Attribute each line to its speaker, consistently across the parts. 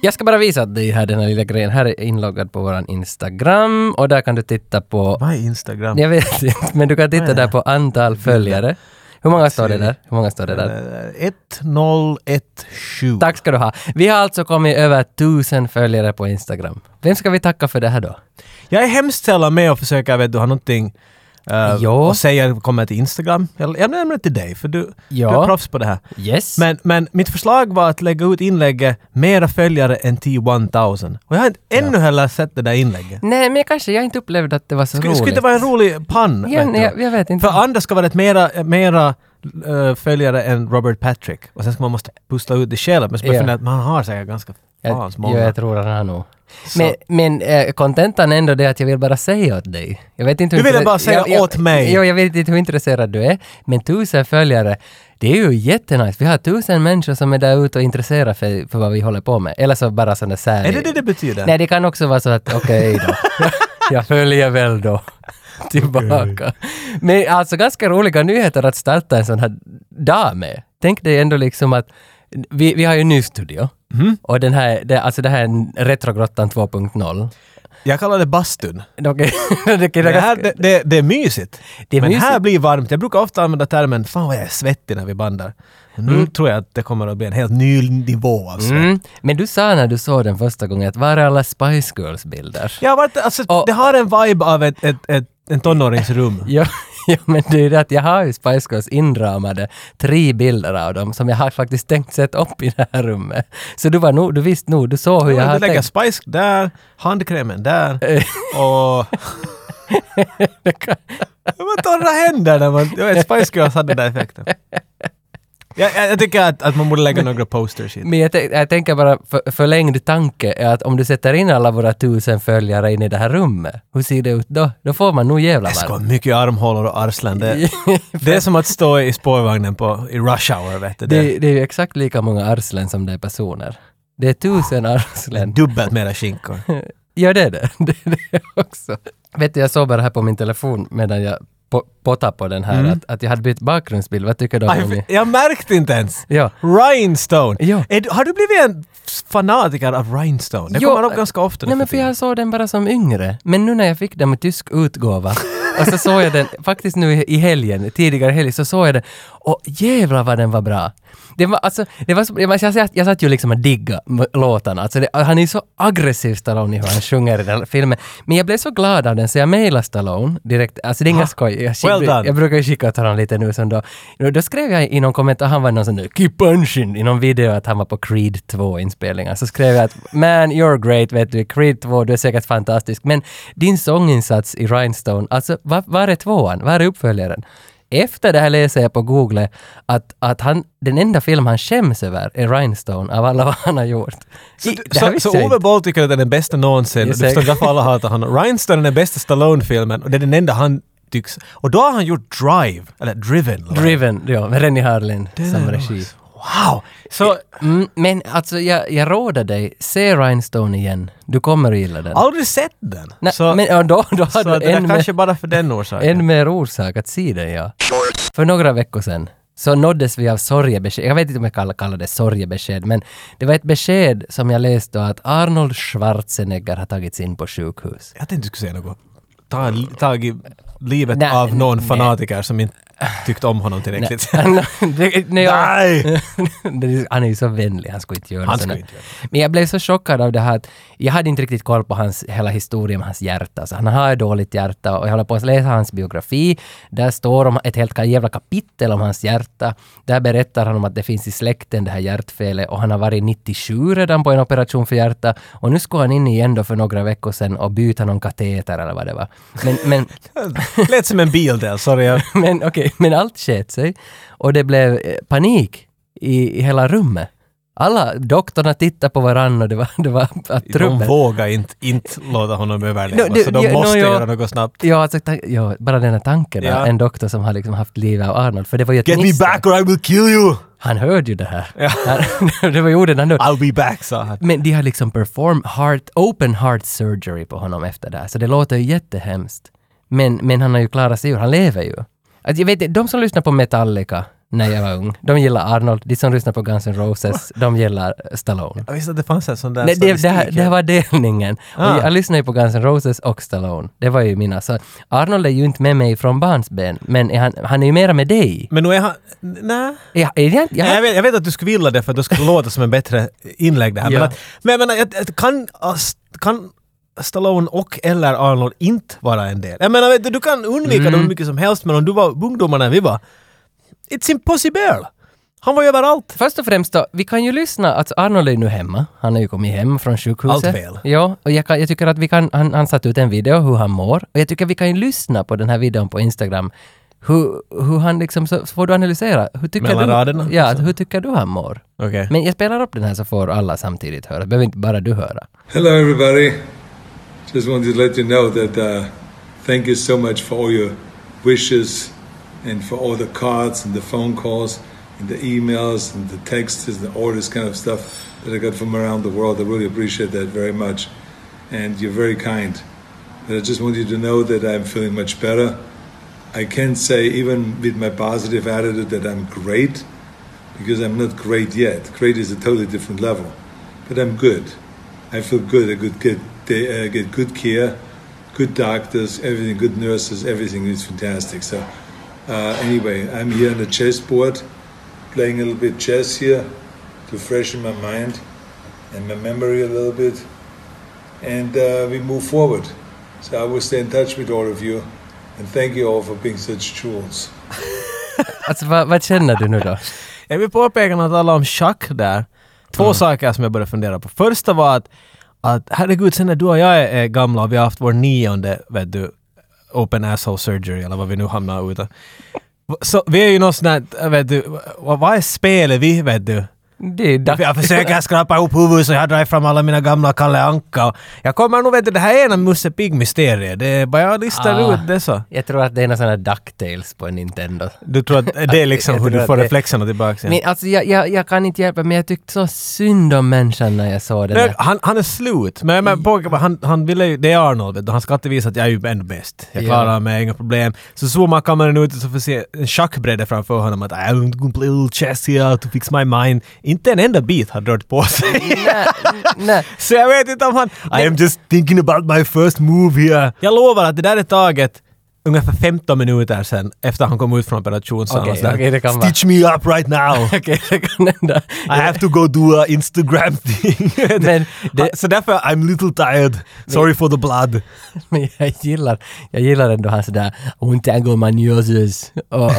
Speaker 1: Jag ska bara visa dig här den här lilla grejen. Här är inloggad på våran Instagram och där kan du titta på,
Speaker 2: Vad är Instagram?
Speaker 1: jag vet inte, men du kan titta där på antal följare. Hur många står det där? Hur många står det där?
Speaker 2: Eh, 1017.
Speaker 1: Tack ska du ha. Vi har alltså kommit över tusen följare på Instagram. Vem ska vi tacka för det här då?
Speaker 2: Jag är hemskt sällan med och försöker vet du, ha någonting eh,
Speaker 1: Jo.
Speaker 2: och säga kommer till Instagram. Jag, jag nämner det till dig för du,
Speaker 1: Ja.
Speaker 2: du är proffs på det här.
Speaker 1: Yes.
Speaker 2: Men, men mitt förslag var att lägga ut inlägget mera följare än T1000. Och jag har inte ännu heller sett det där inlägget.
Speaker 1: Nej, men kanske jag inte upplevde att det var så
Speaker 2: Skulle,
Speaker 1: roligt.
Speaker 2: skulle inte vara en rolig pann?
Speaker 1: Ja,
Speaker 2: vet du?
Speaker 1: nej, jag, jag vet inte.
Speaker 2: För andra ska vara ett mera, mera eh, följare än Robert Patrick. Och sen ska man måste pussla ut det själv. Men så
Speaker 1: Ja.
Speaker 2: yeah. att man har säkert ganska
Speaker 1: jag,
Speaker 2: fans
Speaker 1: jo,
Speaker 2: många.
Speaker 1: jag tror att han har nog.
Speaker 2: Så-
Speaker 1: Men, men eh, kontentan är ändå det att jag vill bara säga åt dig. Jag vet inte
Speaker 2: Du ville
Speaker 1: intresse-
Speaker 2: bara säga
Speaker 1: jag, jag,
Speaker 2: åt mig.
Speaker 1: Jo, jag vet inte hur intresserad du är. Men tusen följare, det är ju jättenice. Vi har tusen människor som är där ute och intresserade för, för vad vi håller på med. Eller så bara sådana sär...
Speaker 2: är det det det betyder?
Speaker 1: Nej, det kan också vara så att okej då. jag följer väl då tillbaka. Men alltså ganska roliga nyheter att starta en sån här dag med. Tänk dig ändå liksom att vi, vi har ju en ny studio. Och den här, det, alltså det här är en Retrogrottan 2.0.
Speaker 2: Jag kallar det bastun.
Speaker 1: Okej, det kan-
Speaker 2: Det, här, det, det, det är mysigt.
Speaker 1: Det är
Speaker 2: Men
Speaker 1: mysigt.
Speaker 2: här blir varmt. Jag brukar ofta använda termen “fan vad jag är svettig när vi bandar”. Men nu tror jag att det kommer att bli en helt ny nivå av svett.
Speaker 1: Mm. Men du sa när du såg den första gången att var är alla Spice Girls-bilder?
Speaker 2: Jag har varit, alltså,
Speaker 1: Och-
Speaker 2: det har en vibe av ett, ett, ett, en tonåringsrum.
Speaker 1: Ja, ja, men det är ju det att jag har ju Spice Girls inramade tre bilder av dem som jag har faktiskt tänkt sätta upp i det här rummet. Så du var nog, du visste nog, du såg hur jag
Speaker 2: Du
Speaker 1: har
Speaker 2: lägger
Speaker 1: tänkt.
Speaker 2: spice där, handkrämen där och... Det var torra händer när man... Jag vet, Spice Girls hade den där effekten. Jag, jag, jag tycker att, att man borde lägga några posters hit.
Speaker 1: Men jag, tän- jag tänker bara, för, förlängd tanke är att om du sätter in alla våra tusen följare in i det här rummet, hur ser det ut då? Då får man nog jävla
Speaker 2: Det ska
Speaker 1: varmt.
Speaker 2: vara mycket armhålor och arslen. Det, det är som att stå i spårvagnen på, i rush hour, vet du. Det,
Speaker 1: Det, det är ju exakt lika många arslen som det är personer. Det är tusen
Speaker 2: är
Speaker 1: arslen.
Speaker 2: dubbelt mera skinkor.
Speaker 1: Ja, det är det. Det är det också. Vet du, jag såg bara här på min telefon medan jag po- pottade på den här att, att jag hade bytt bakgrundsbild. Vad tycker du om
Speaker 2: Mm. Aj,
Speaker 1: min?
Speaker 2: för- Jag märkte inte ens!
Speaker 1: Ja.
Speaker 2: Rhinestone!
Speaker 1: Ja.
Speaker 2: Är du, har du blivit en fanatiker av Rhinestone? Det
Speaker 1: Jo,
Speaker 2: kommer upp ganska ofta nu
Speaker 1: Nej, men för
Speaker 2: tiden.
Speaker 1: jag såg den bara som yngre. Men nu när jag fick den med tysk utgåva och så såg jag den faktiskt nu i- i helgen, tidigare i helgen, så såg jag den och jävlar vad den var bra. Det var, alltså, det var, så- jag, jag, satt, jag satt ju liksom och digga m- låtarna. Alltså det, han är ju så aggressiv Stallone hur han sjunger i den här filmen. Men jag blev så glad av den så jag mejlade Stallone direkt. Alltså det är inga skoj. Jag,
Speaker 2: Well done.
Speaker 1: jag brukar ju skicka åt honom lite nu som då. Då då skrev jag i någon kommentar, han var någon sån där “Keep punching” i någon video att han var på Creed 2-inspelningar. Så skrev jag att “Man, you're great, vet du, Creed 2, du är säkert fantastisk, men din sånginsats i Rhinestone, alltså var, var är tvåan? Var är uppföljaren?” Efter det här läser jag på Google att, att han, den enda film han skäms över är Rhinestone av alla vad han har gjort. I, det här
Speaker 2: Så,
Speaker 1: visste
Speaker 2: så
Speaker 1: jag
Speaker 2: Ove
Speaker 1: inte.
Speaker 2: Boll tycker att den är den bästa någonsin.
Speaker 1: Just
Speaker 2: Du förstår
Speaker 1: det.
Speaker 2: därför alla hatar honom. Rhinestone är den bästa Stallone-filmen och det är den enda han tycks... Och då har han gjort Drive, eller Driven. eller vad?
Speaker 1: Driven, ja, med Rennie Harlin
Speaker 2: Den
Speaker 1: som
Speaker 2: är
Speaker 1: regi.
Speaker 2: nice. Wow! Så
Speaker 1: Mm, men alltså jag, jag råder dig, se Rhinestone igen. Du kommer att gilla den.
Speaker 2: aldrig sett den.
Speaker 1: Nej,
Speaker 2: så
Speaker 1: men ja, då, då
Speaker 2: så
Speaker 1: har
Speaker 2: det
Speaker 1: du
Speaker 2: är
Speaker 1: en,
Speaker 2: kanske
Speaker 1: mer,
Speaker 2: bara för den orsaken.
Speaker 1: en mer orsak att se den ja. För några veckor sedan så nåddes vi av sorgebesked. Jag vet inte om jag kallar, kallar det sorgebesked, men det var ett besked som jag läste att Arnold Schwarzenegger har tagits in på sjukhus.
Speaker 2: Jag tänkte du skulle säga något. Ta, tag i livet
Speaker 1: Nej,
Speaker 2: av någon
Speaker 1: nej.
Speaker 2: fanatiker som inte tyckte om honom tillräckligt.
Speaker 1: Det- nej, jag-
Speaker 2: Nej!
Speaker 1: Det är- han är ju så vänlig, han skulle inte göra
Speaker 2: Han
Speaker 1: såna-
Speaker 2: skulle inte göra
Speaker 1: Men jag blev så chockad av det här att jag hade inte riktigt koll på hans, hela historien med hans hjärta. Så han har ett dåligt hjärta och jag håller på att läsa hans biografi. Där står om ett helt jävla kapitel om hans hjärta. Där berättar han om att det finns i släkten det här hjärtfelet och han har varit 97 redan på en operation för hjärta och nu skulle han in igen då för några veckor sedan och byta någon kateter eller vad det var. Men, men
Speaker 2: Lät som en bildel, sorry. jag-
Speaker 1: men okej, men allt sket sig och det blev eh, panik i, i hela rummet. Alla doktorna tittade på varandra och det var, det var att
Speaker 2: De
Speaker 1: trubbel.
Speaker 2: vågar inte, inte låta honom överleva,
Speaker 1: No, det-
Speaker 2: så de
Speaker 1: ja, no,
Speaker 2: måste
Speaker 1: ja.
Speaker 2: göra något snabbt.
Speaker 1: Ja, alltså, ta- ja, bara den här tanken
Speaker 2: Ja.
Speaker 1: av en doktor som har liksom haft livet av Arnold. För det var ju ett
Speaker 2: Get me
Speaker 1: misstag.
Speaker 2: back or I will kill you!
Speaker 1: Han hörde ju det här. Han, det var ju orden han hörde.
Speaker 2: I'll be back, sa han.
Speaker 1: Men de har liksom perform heart, open heart surgery på honom efter det här, så det låter ju jättehemskt. Men, men han har ju klarat sig ur, han lever ju. Alltså, jag vet, inte, de som lyssnar på Metallica, när jag var ung. De gillar Arnold, de som lyssnar på Guns N' Roses, de gillar Stallone.
Speaker 2: Jag visste att Alltså, det fanns en sån där
Speaker 1: Nej, det, det, här-
Speaker 2: statistik.
Speaker 1: det här var delningen.
Speaker 2: Ah.
Speaker 1: Och jag lyssnade ju på Guns N' Roses och Stallone. Det var ju mina. Så Arnold är ju inte med mig från barnsben, men är han, han är ju mera med dig.
Speaker 2: Men nu är han... Nej.
Speaker 1: Är, jag- är jag, jag,
Speaker 2: Nej, Jag, vet, jag vet att du skulle vilja det för att det skulle låta som en bättre inlägg det här.
Speaker 1: Ja.
Speaker 2: Men, att, men jag menar, jag, jag, kan, ast- kan Stallone och eller Arnold inte vara en del? Jag menar, vet du, du kan undvika
Speaker 1: Mm.
Speaker 2: dem hur mycket som helst men om du var ungdomar när vi var... It's impossible! Han var ju överallt.
Speaker 1: Först och främst då, vi kan ju lyssna, alltså Arnold är ju nu hemma, han har ju kommit hem från sjukhuset.
Speaker 2: Allt väl.
Speaker 1: Ja, och jag, kan, jag tycker att vi kan, han, han satt ut en video hur han mår, och jag tycker vi kan ju lyssna på den här videon på Instagram, hur, hur han liksom, så får du analysera, hur tycker
Speaker 2: Mellan
Speaker 1: du,
Speaker 2: raderna,
Speaker 1: Ja,
Speaker 2: alltså.
Speaker 1: hur tycker du han mår?
Speaker 2: Okej.
Speaker 1: Men jag spelar upp den här så får alla samtidigt höra, behöver inte bara du höra.
Speaker 3: Hello, everybody. Just wanted to let you know that uh, thank you so much for all your wishes and for all the cards and the phone calls and the emails and the texts and all this kind of stuff that I got from around the world. I really appreciate that very much. And you're very kind. But I just want you to know that I'm feeling much better. I can say, even with my positive attitude, that I'm great because I'm not great yet. Great is a totally different level, but I'm good. I feel good. I could get they, uh, get good care, good doctors, everything, good nurses, everything is fantastic. So uh, anyway, I'm here on the chessboard, playing a little bit chess here to freshen my mind and my memory a little bit, and uh, we move forward. So I will stay in touch with all of you, and thank you all for being such jewels.
Speaker 1: Alltså vad, vad känner du nu då?
Speaker 2: Jag vill påpeka något alla om schack där. Två saker som jag började fundera på. Första var att, att herregud, sen när du och jag är, är gamla och vi har haft vår nionde, vet du, open asshole surgery eller vad vi nu hamnar utan. Så vi är ju någon sån här, vet du, vad, vad är spelet vi, vet du?
Speaker 1: Det är dags.
Speaker 2: Jag försöker skrapa ihop huvudet så jag drar fram alla mina gamla Kalle Anka. och- Jag kommer nog, vet du, det här är ena Musse Pigg-mysteriet. Det är bara jag listar
Speaker 1: Ah.
Speaker 2: ut det så.
Speaker 1: Jag tror att det är någon sån här DuckTales på Nintendo.
Speaker 2: Du tror att det är
Speaker 1: Jag
Speaker 2: liksom hur
Speaker 1: tror
Speaker 2: du
Speaker 1: att
Speaker 2: får
Speaker 1: det-
Speaker 2: reflexerna tillbaka? igen.
Speaker 1: Men alltså jag, jag, jag kan inte hjälpa men jag tyckte så synd om människan när jag såg den
Speaker 2: Nej,
Speaker 1: där.
Speaker 2: han, han är slut. Men, men pojken, han, han ville ju... Det är Arnold, vet du. Han ska alltid visa att jag är ju ändå bäst. Jag
Speaker 1: Ja.
Speaker 2: klarar mig, inga problem. Så zoomar kameran ut och så får se en schackbräda framför honom att I don't go play little chess here to fix my mind. Inte en enda bit har rört på sig.
Speaker 1: Nej.
Speaker 2: så jag vet inte om han... I am just thinking about my first move here. Jag lovar att det där är taget ungefär 15 minuter sen efter han kom ut från operationssalen.
Speaker 1: Okej,
Speaker 2: och sådär,
Speaker 1: okej, det kan vara-
Speaker 2: Stitch me up right now!
Speaker 1: Okej, det kan hända.
Speaker 2: I have to go do a Instagram thing. Ah,
Speaker 1: Men det-
Speaker 2: så därför, I'm little tired. Sorry for the blood.
Speaker 1: Men jag gillar, jag gillar ändå hans där “Untangle manioses” och, och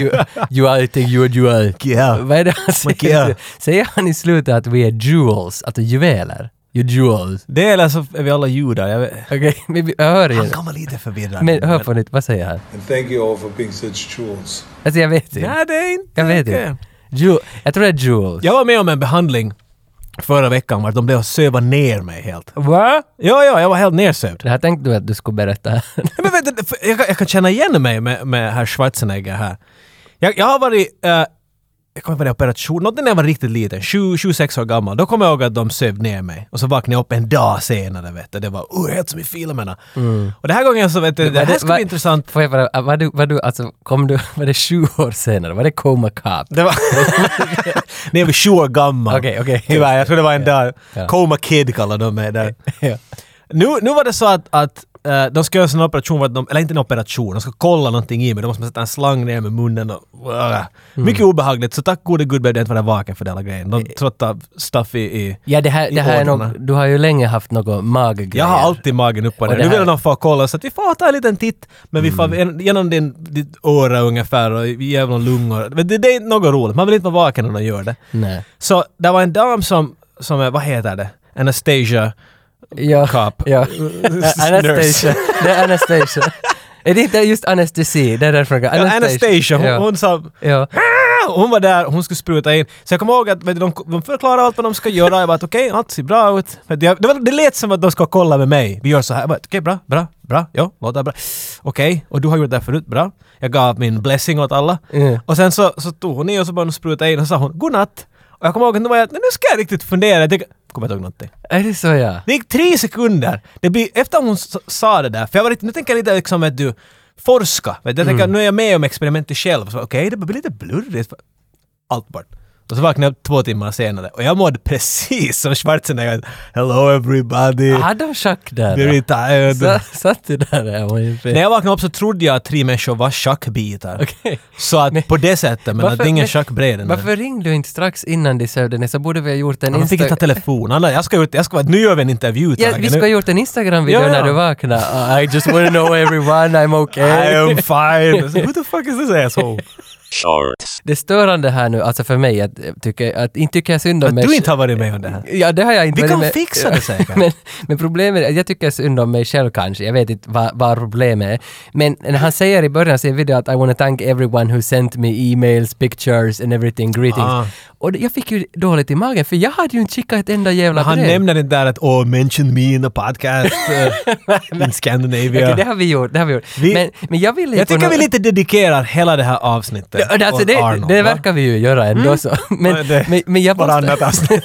Speaker 1: you, “You are the you are jewel”.
Speaker 2: Yeah.
Speaker 1: Vad är det han
Speaker 2: yeah.
Speaker 1: säger? Säger han i slutet att vi är jewels, alltså juveler? You jewels.
Speaker 2: Det eller så är vi alla judar. Jag, vet-
Speaker 1: Okej, men vi- jag hör
Speaker 2: han
Speaker 1: igen.
Speaker 2: kommer lite förvirrad.
Speaker 1: Men hör på nytt, vad säger han?
Speaker 3: And thank you all for being such jewels.
Speaker 1: Alltså jag vet inte.
Speaker 2: Nej, det är inte...
Speaker 1: Jag vet
Speaker 2: okej.
Speaker 1: inte. Ju, jag tror det är jewels.
Speaker 2: Jag var med om en behandling förra veckan var de blev att söva ner mig helt.
Speaker 1: Va?
Speaker 2: Ja, ja, jag var helt nersövd.
Speaker 1: Det här tänkte du att du skulle berätta.
Speaker 2: Men vet du, för jag, kan- jag kan känna igen mig med, med herr Schwarzenegger här. Jag, jag har varit... eh, jag kommer ihåg en operation, något när jag var riktigt liten, 20 26 år gammal, då kommer jag ihåg att de sövde ner mig. Och så vaknade jag upp en dag senare vet du. Det var oh, helt som i filmerna. Och den här gången så vet du, det här ska
Speaker 1: Var-
Speaker 2: bli intressant.
Speaker 1: Får jag bara, var du, var du, alltså, kom du, var det sju år senare? Var det Coma Cop?
Speaker 2: Det var... när jag var 20 år gammal.
Speaker 1: Okej, okej.
Speaker 2: Tyvärr, jag tror det var en dag.
Speaker 1: Ja.
Speaker 2: Coma Kid kallar de mig där.
Speaker 1: Ja.
Speaker 2: Nu, nu var det så att, att eh, de ska göra en sån operation, för att de, eller inte en operation, de ska kolla någonting i mig. De måste sätta en slang ner med munnen och... Ugh. Mycket obehagligt, så tack gode gud behövde jag inte vara vaken för den här grejen. De trötta stuff i... i
Speaker 1: Ja, det här,
Speaker 2: i
Speaker 1: det här är
Speaker 2: ådrarna.
Speaker 1: nog, du har ju länge haft något maggrejer.
Speaker 2: Jag har alltid magen upp på
Speaker 1: Och
Speaker 2: det. Mm.
Speaker 1: det
Speaker 2: Nu vill
Speaker 1: här-
Speaker 2: de få kolla så att vi får ta en liten titt. Men vi får en- genom din, ditt öra ungefär och genom lungor. Men det, det är inte något roligt. Man vill inte vara vaken när de gör det.
Speaker 1: Nej.
Speaker 2: Så det var en dam som, som är, vad heter det? Anastasia.
Speaker 1: Ja.
Speaker 2: Cop.
Speaker 1: Ja. Anastasia.
Speaker 2: Nurse.
Speaker 1: Det är Anastasia. är det inte just anestesi? Det är därför jag
Speaker 2: Anastasia, Anastasia hon,
Speaker 1: ja.
Speaker 2: hon sa Ah,
Speaker 1: ja.
Speaker 2: hon var där, hon skulle spruta in. Så jag kommer ihåg att vet du, de, de förklarar allt vad de ska göra. Jag bara att okej, allt ser bra ut. Vet du, jag- Det, var, det lät som att de ska kolla med mig. Vi gör så här. Jag bara okej, bra, bra, bra. Ja, låter bra. Okej, och du har gjort det här förut. Bra. Jag gav min blessing åt alla.
Speaker 1: Mm.
Speaker 2: Och sen så, så tog hon i och så började hon spruta in och så sa hon godnatt. Och jag kommer ihåg att nu var jag, "Nej, nu ska jag riktigt fundera. Jag tycker- kommer inte ihåg någonting.
Speaker 1: Är det så ja?
Speaker 2: Det gick tre sekunder. Det blir, efter hon s- sa det där, för jag var lite, nu tänker jag lite liksom att du forska. Vet du, jag
Speaker 1: Mm.
Speaker 2: tänker, nu är jag med om experimentet själv. Så, Okej, det blir lite blurrigt. Allt bort. Och så vaknade jag upp två timmar senare och jag mådde precis som Schwarzenegger. Hello everybody!
Speaker 1: Hade de schack där?
Speaker 2: Very
Speaker 1: då?
Speaker 2: tired.
Speaker 1: Sa- Satt du där? Jag var ju
Speaker 2: äh, När jag vaknade upp så trodde jag att tre människor var schackbitar.
Speaker 1: Okej.
Speaker 2: Så att på det sättet, men att det är ingen schackbräde. nej.
Speaker 1: Varför ringde du inte strax innan de sövde ner så borde vi ha gjort en
Speaker 2: Han fick inte ta
Speaker 1: Insta-
Speaker 2: telefon. Han, jag ska, ut- jag ska, nu gör vi en intervju.
Speaker 1: Ja,
Speaker 2: Tage.
Speaker 1: vi ska ha
Speaker 2: Nu-
Speaker 1: gjort en Instagram-video
Speaker 2: Ja, ja.
Speaker 1: när du vaknar. I just wanna know everyone, I'm okay.
Speaker 2: I am fine. Så, Who the fuck is this asshole?
Speaker 4: shorts,
Speaker 1: Det störande här nu, alltså för mig, att, tycker, att inte tycker jag synd om
Speaker 2: Att
Speaker 1: mig
Speaker 2: du inte har varit med om det här.
Speaker 1: Ja, det har jag inte
Speaker 2: Vi
Speaker 1: varit
Speaker 2: kan
Speaker 1: med-
Speaker 2: fixa det säkert.
Speaker 1: men, men problemet är att jag tycker synd om mig själv kanske. Jag vet inte vad, vad problemet är. Men när han säger i början av sin video att I wanna thank everyone who sent me emails, pictures and everything, greetings.
Speaker 2: Ah.
Speaker 1: Och det- jag fick ju dåligt i magen för jag hade ju inte skickat ett enda jävla
Speaker 2: Han
Speaker 1: brev.
Speaker 2: nämner inte där att oh, mention me in the podcast eh, in Scandinavia.
Speaker 1: Okej, det har vi gjort, det har vi gjort.
Speaker 2: Vi-
Speaker 1: men, men jag ville ju
Speaker 2: jag
Speaker 1: på
Speaker 2: tycker
Speaker 1: något-
Speaker 2: vi lite dedikerar hela det här avsnittet
Speaker 1: Ja, det- Alltså
Speaker 2: åt
Speaker 1: det,
Speaker 2: Arnold.
Speaker 1: det
Speaker 2: va?
Speaker 1: verkar vi ju göra ändå så. Men,
Speaker 2: Mm. Det- alltså.
Speaker 1: men, men jag måste,
Speaker 2: Varannat avsnitt.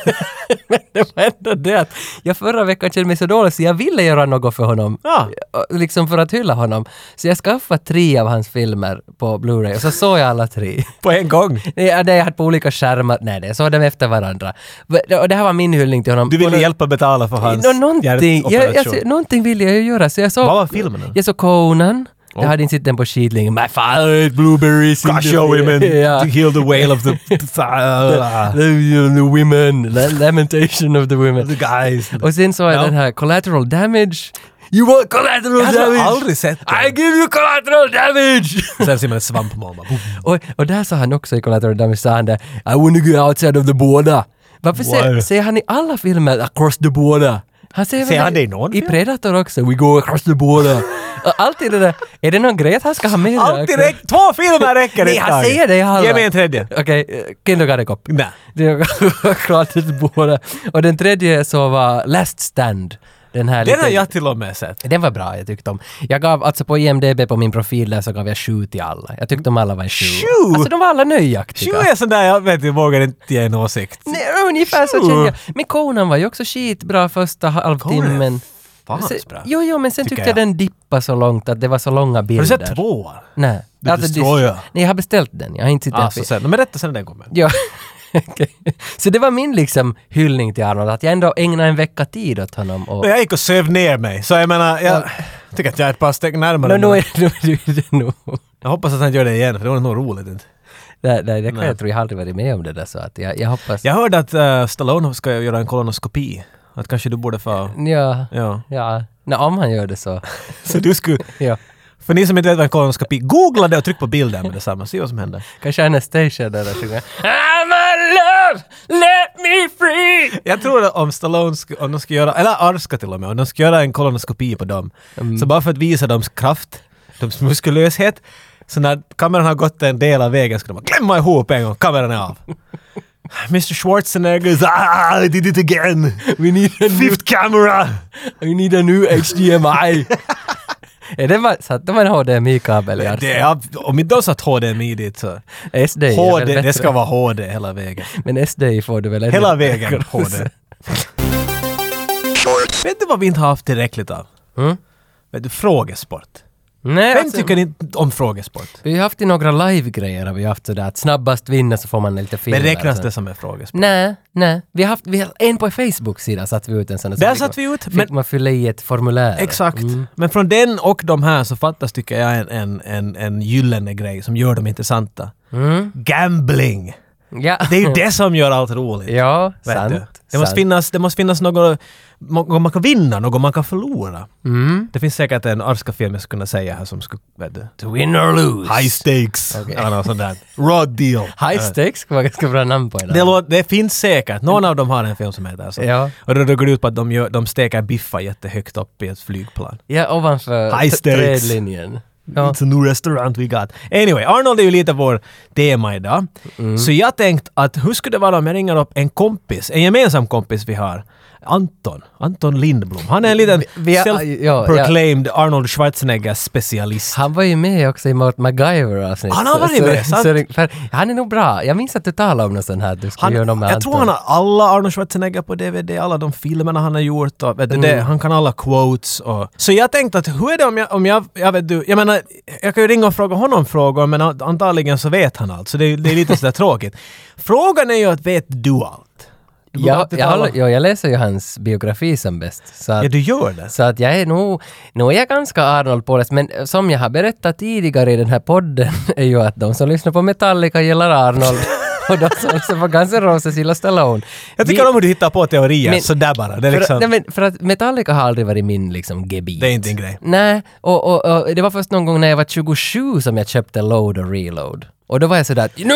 Speaker 1: men det var ändå det att jag förra veckan kände mig så dålig så jag ville göra något för honom.
Speaker 2: Ja.
Speaker 1: Och Liksom för att hylla honom. Så jag skaffade tre av hans filmer på Blu-ray och så såg jag alla tre.
Speaker 2: På en gång.
Speaker 1: Nej, ja, nej, jag hade på olika skärmar. Nej, jag såg dem efter varandra. Och det här var min hyllning till honom.
Speaker 2: Du
Speaker 1: På
Speaker 2: ville
Speaker 1: nå-
Speaker 2: hjälpa betala för hans
Speaker 1: Nå- någonting, jag,
Speaker 2: hjärtoperation.
Speaker 1: jag, någonting ville jag ju göra så jag såg...
Speaker 2: Vad var filmen då?
Speaker 1: Jag såg Conan. Jag
Speaker 2: Oh.
Speaker 1: hade inte sett den på skidlingen. My father ate blueberries in
Speaker 2: Gosh,
Speaker 1: the-
Speaker 2: your women
Speaker 1: Ja.
Speaker 2: to heal the wail of the,
Speaker 1: The, the women, la- lamentation of
Speaker 2: the
Speaker 1: the women.
Speaker 2: guys.
Speaker 1: Och sen såg jag
Speaker 2: Ja.
Speaker 1: den här collateral damage. You want collateral
Speaker 2: Jag har
Speaker 1: damage?
Speaker 2: aldrig sett den.
Speaker 1: I give you collateral damage!
Speaker 2: Sen ser man en svampmamma. Boom.
Speaker 1: och, och där sa han också i collateral damage, sa han där, I wanna go outside of the border. Varför säger,
Speaker 2: Why?
Speaker 1: säger han i alla filmer across the border? Han säger, väl
Speaker 2: Säger han det i någon
Speaker 1: I
Speaker 2: film?
Speaker 1: Predator också, we go across the border. Uh, och alltid det där, är det någon grej att han ska ha med det?
Speaker 2: Alltid räck, två filmer räcker
Speaker 1: Nej, han
Speaker 2: Tage.
Speaker 1: säger det i alla.
Speaker 2: Ge mig en tredje.
Speaker 1: Okej, okay, uh, Kindergarten Cop.
Speaker 2: Nej.
Speaker 1: Det var klart att båda. Och den tredje så var Last Stand. Den här
Speaker 2: Den
Speaker 1: lite-
Speaker 2: har jag till och med sett.
Speaker 1: Den var bra, jag tyckte om. Jag gav, alltså på IMDB på min profil där så gav jag sju till alla. Jag tyckte om alla var en sju.
Speaker 2: Sju?
Speaker 1: Alltså de var alla
Speaker 2: Tju
Speaker 1: nöjaktiga.
Speaker 2: är sån där, jag vet, jag vågar inte ge en åsikt.
Speaker 1: Nej, ungefär så
Speaker 2: Sju.
Speaker 1: kände jag. Men Conan var ju också skitbra första halvtimmen.
Speaker 2: Fan
Speaker 1: Så-
Speaker 2: bra.
Speaker 1: Jo, jo, men sen
Speaker 2: Tycker
Speaker 1: tyckte jag
Speaker 2: jag.
Speaker 1: den dippade så långt att det var så långa
Speaker 2: Har
Speaker 1: bilder.
Speaker 2: du sett tvåan?
Speaker 1: Nej. Alltså,
Speaker 2: The
Speaker 1: det-
Speaker 2: Destroyer?
Speaker 1: Nej, jag har beställt den. Jag har inte sett den.
Speaker 2: Alltså sen, men berätta sen när den kommer.
Speaker 1: Ja. Okej. Så det var min liksom hyllning till Arnold, att jag ändå ägnade en vecka tid åt honom. Och...
Speaker 2: Men jag gick och söv ner mig, så jag menar, jag tycker att jag är ett par steg närmare.
Speaker 1: Nå,
Speaker 2: nu.
Speaker 1: nu är nu är det nog...
Speaker 2: Jag hoppas att han gör det igen, för det var nog roligt inte.
Speaker 1: Nej, nej, det kan
Speaker 2: Nej.
Speaker 1: jag tro. Jag har aldrig varit med om det där så att jag, jag hoppas...
Speaker 2: Jag hörde att eh, Stallone ska göra en kolonoskopi. Att kanske du borde få...
Speaker 1: Ja.
Speaker 2: Ja.
Speaker 1: Ja. Nej, om han gör det så.
Speaker 2: Så du skulle...
Speaker 1: Ja.
Speaker 2: För ni som inte vet vad en kolonoskopi... Googla det och tryck på bilden med detsamma, se vad som händer.
Speaker 1: Kanske Anastasia där och sjunger I'm a love, let me free!
Speaker 2: Jag tror att om Stallone sku, om de ska göra, eller Arska till och med, om de ska göra en kolonoskopi på dem,
Speaker 1: Mm.
Speaker 2: så bara för att visa deras kraft, deras muskulöshet, så när kameran har gått en del av vägen ska de bara klämma ihop en gång, kameran är av. Mr Schwarzenegger is, ah, I did it again!
Speaker 1: We need a new,
Speaker 2: Fifth camera!
Speaker 1: we need a new HDMI! Är det var, satt de en HDMI-kabel i Arsenal?
Speaker 2: Det är, om inte de satt HDMI dit så...
Speaker 1: SD är väl
Speaker 2: HD,
Speaker 1: bättre.
Speaker 2: det ska vara HD hela vägen.
Speaker 1: Men SD får du väl ändå-
Speaker 2: Hela vägen HD. Vet du vad vi inte har haft tillräckligt av?
Speaker 1: Mm.
Speaker 2: Vet du, frågesport.
Speaker 1: Nej,
Speaker 2: Vem
Speaker 1: alltså-
Speaker 2: tycker inte om frågesport?
Speaker 1: Vi har haft i några live-grejer har vi haft sådär att snabbast vinner så får man lite filmer.
Speaker 2: Men räknas
Speaker 1: Så-
Speaker 2: det som en frågesport?
Speaker 1: alltså. Nej, nej. Vi har haft, vi har, en på Facebook-sidan satte vi ut en sån.
Speaker 2: Där
Speaker 1: fick
Speaker 2: satte
Speaker 1: man-
Speaker 2: vi ut,
Speaker 1: alltså, Fick
Speaker 2: men-
Speaker 1: man Mm. fylla i ett formulär.
Speaker 2: Exakt. Men från den och de här så fattas, tycker jag, en, en, en, en gyllene grej som gör dem intressanta.
Speaker 1: Mm.
Speaker 2: Gambling!
Speaker 1: Ja.
Speaker 2: Det är ju det som gör allt roligt.
Speaker 1: ja,
Speaker 2: Vet
Speaker 1: sant.
Speaker 2: du? Det måste,
Speaker 1: sant.
Speaker 2: finnas, det måste finnas något något man kan vinna, något man kan förlora.
Speaker 1: Mm.
Speaker 2: Det finns säkert en Arska-film jag skulle kunna säga här som skulle... Vet du,
Speaker 1: To win or lose.
Speaker 2: high stakes!
Speaker 1: Okej.
Speaker 2: Eller något sånt där. Raw deal!
Speaker 1: High stakes skulle vara ganska bra namn på en
Speaker 2: Det, lå- det finns säkert. Någon av dem har en film som heter så.
Speaker 1: Ja.
Speaker 2: Och då, då går det ut på att de, gör, de stekar biffar jättehögt upp i ett flygplan.
Speaker 1: Ja, ovanför
Speaker 2: High
Speaker 1: t-
Speaker 2: stakes.
Speaker 1: trädlinjen. Ja.
Speaker 2: It's a new restaurant we got. Anyway, Arnold är ju lite vår tema idag.
Speaker 1: Mm.
Speaker 2: Så jag tänkt att hur skulle det vara om jag ringer upp en kompis, en gemensam kompis vi har, Anton, Anton Lindblom. Han är en liten
Speaker 1: Vi- vi har-
Speaker 2: self-proclaimed Arnold Schwarzenegger-specialist.
Speaker 1: Han var ju med också i Mot MacGyver-avsnittet.
Speaker 2: Han har varit
Speaker 1: Så-
Speaker 2: med,
Speaker 1: så-
Speaker 2: sant?
Speaker 1: så- för Han är nog bra. Jag minns att du talade om något sånt här. Du skulle
Speaker 2: Han,
Speaker 1: göra något med
Speaker 2: jag tror
Speaker 1: Anton.
Speaker 2: han har alla Arnold Schwarzenegger på DVD, alla de filmerna han har gjort och vet du,
Speaker 1: Mm.
Speaker 2: det, han kan alla quotes och... Så jag tänkte att hur är det om jag, om jag, jag vet du, jag menar, jag kan ju ringa och fråga honom frågor men an- antagligen så vet han allt så det, är- det är lite sådär tråkigt. Frågan är ju att vet du allt? Du går
Speaker 1: Ja,
Speaker 2: alltid
Speaker 1: jag,
Speaker 2: alla-
Speaker 1: håller- ja, jag läser ju hans biografi som bäst. Så att,
Speaker 2: ja, du gör det.
Speaker 1: Så att jag är nog, nog är jag ganska Arnold på det. Men som jag har berättat tidigare i den här podden är ju att de som lyssnar på Metallica gillar Arnold och de som lyssnar på Guns N' Roses gillar Stallone.
Speaker 2: Jag tycker
Speaker 1: Vi-
Speaker 2: om hur du hittar på teorier
Speaker 1: Men-
Speaker 2: sådär bara. Det är, liksom,
Speaker 1: för, nej, men för att Metallica har aldrig varit min liksom gebit.
Speaker 2: det är inte din grej.
Speaker 1: Nej, och, och, och det var först någon gång när jag var 27 som jag köpte Load och Reload. Och då var jag sådär att nu!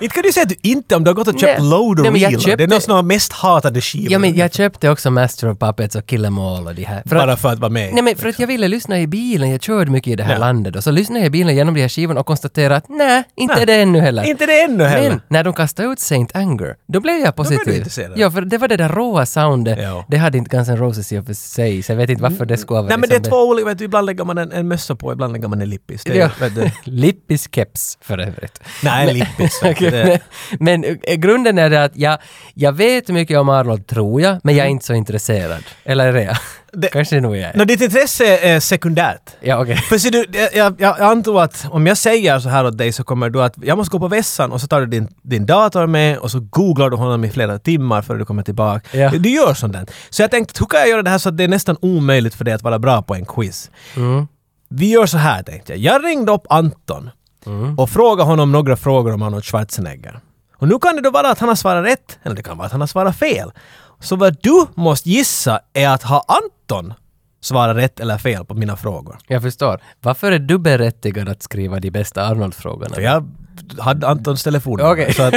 Speaker 2: Inte kan du säga att du inte om du har gått och köpt
Speaker 1: Nej.
Speaker 2: Load och
Speaker 1: Nej, men jag
Speaker 2: Reload. Det
Speaker 1: köpte-
Speaker 2: är någon av de mest hatade skivor.
Speaker 1: Ja men jag köpte också Master of Puppets och Kill Em All och de här. För att-
Speaker 2: bara för att vara med.
Speaker 1: Nej men för att jag ville lyssna i bilen, jag körde mycket i det här
Speaker 2: Ja.
Speaker 1: landet och så lyssnade jag i bilen genom de här skivorna och konstaterade att nej, inte det ännu heller.
Speaker 2: Inte det ännu heller.
Speaker 1: Men när de kastade ut Saint Anger, då blev jag
Speaker 2: blev du
Speaker 1: positiv.
Speaker 2: intresserad.
Speaker 1: ja, för det var det där råa soundet.
Speaker 2: Ja.
Speaker 1: Det hade inte Guns N' Roses i och för sig, så jag vet inte varför det skulle vara
Speaker 2: Nej men det
Speaker 1: liksom
Speaker 2: är två olika, vet du, ibland lägger man en, en mössa på, ibland lägger man en lippis. Det är,
Speaker 1: Ja.
Speaker 2: vet du,
Speaker 1: Lippis keps för övrigt.
Speaker 2: nej, en lippis. vet du, det är-
Speaker 1: men eh, grunden är det att jag, jag vet mycket om Arnold, tror jag, men jag är inte så intresserad. Eller är det jag?
Speaker 2: Mm. Det-
Speaker 1: Kanske nog jag är.
Speaker 2: Nå, ditt intresse är sekundärt.
Speaker 1: Ja, okej.
Speaker 2: För ser du, jag, jag, jag antar att om jag säger så här åt dig så kommer du att, jag måste gå på vässan och så tar du din, din dator med och så googlar du honom i flera timmar före du kommer tillbaka.
Speaker 1: Ja.
Speaker 2: Du, du gör sånt där. Så jag tänkte, hur kan jag göra det här så att det är nästan omöjligt för dig att vara bra på en quiz? Vi gör så här tänkte jag. Jag ringde upp Anton och frågade honom några frågor om Arnold Schwarzenegger. Och nu kan det då vara att han har svarat rätt, eller det kan vara att han har svarat fel. Så vad du måste gissa är att har Anton svarat rätt eller fel på mina frågor?
Speaker 1: Jag förstår. Varför är du berättigad att skriva de bästa Arnold-frågorna?
Speaker 2: För jag hade Antons telefon.
Speaker 1: Okej.
Speaker 2: Så att,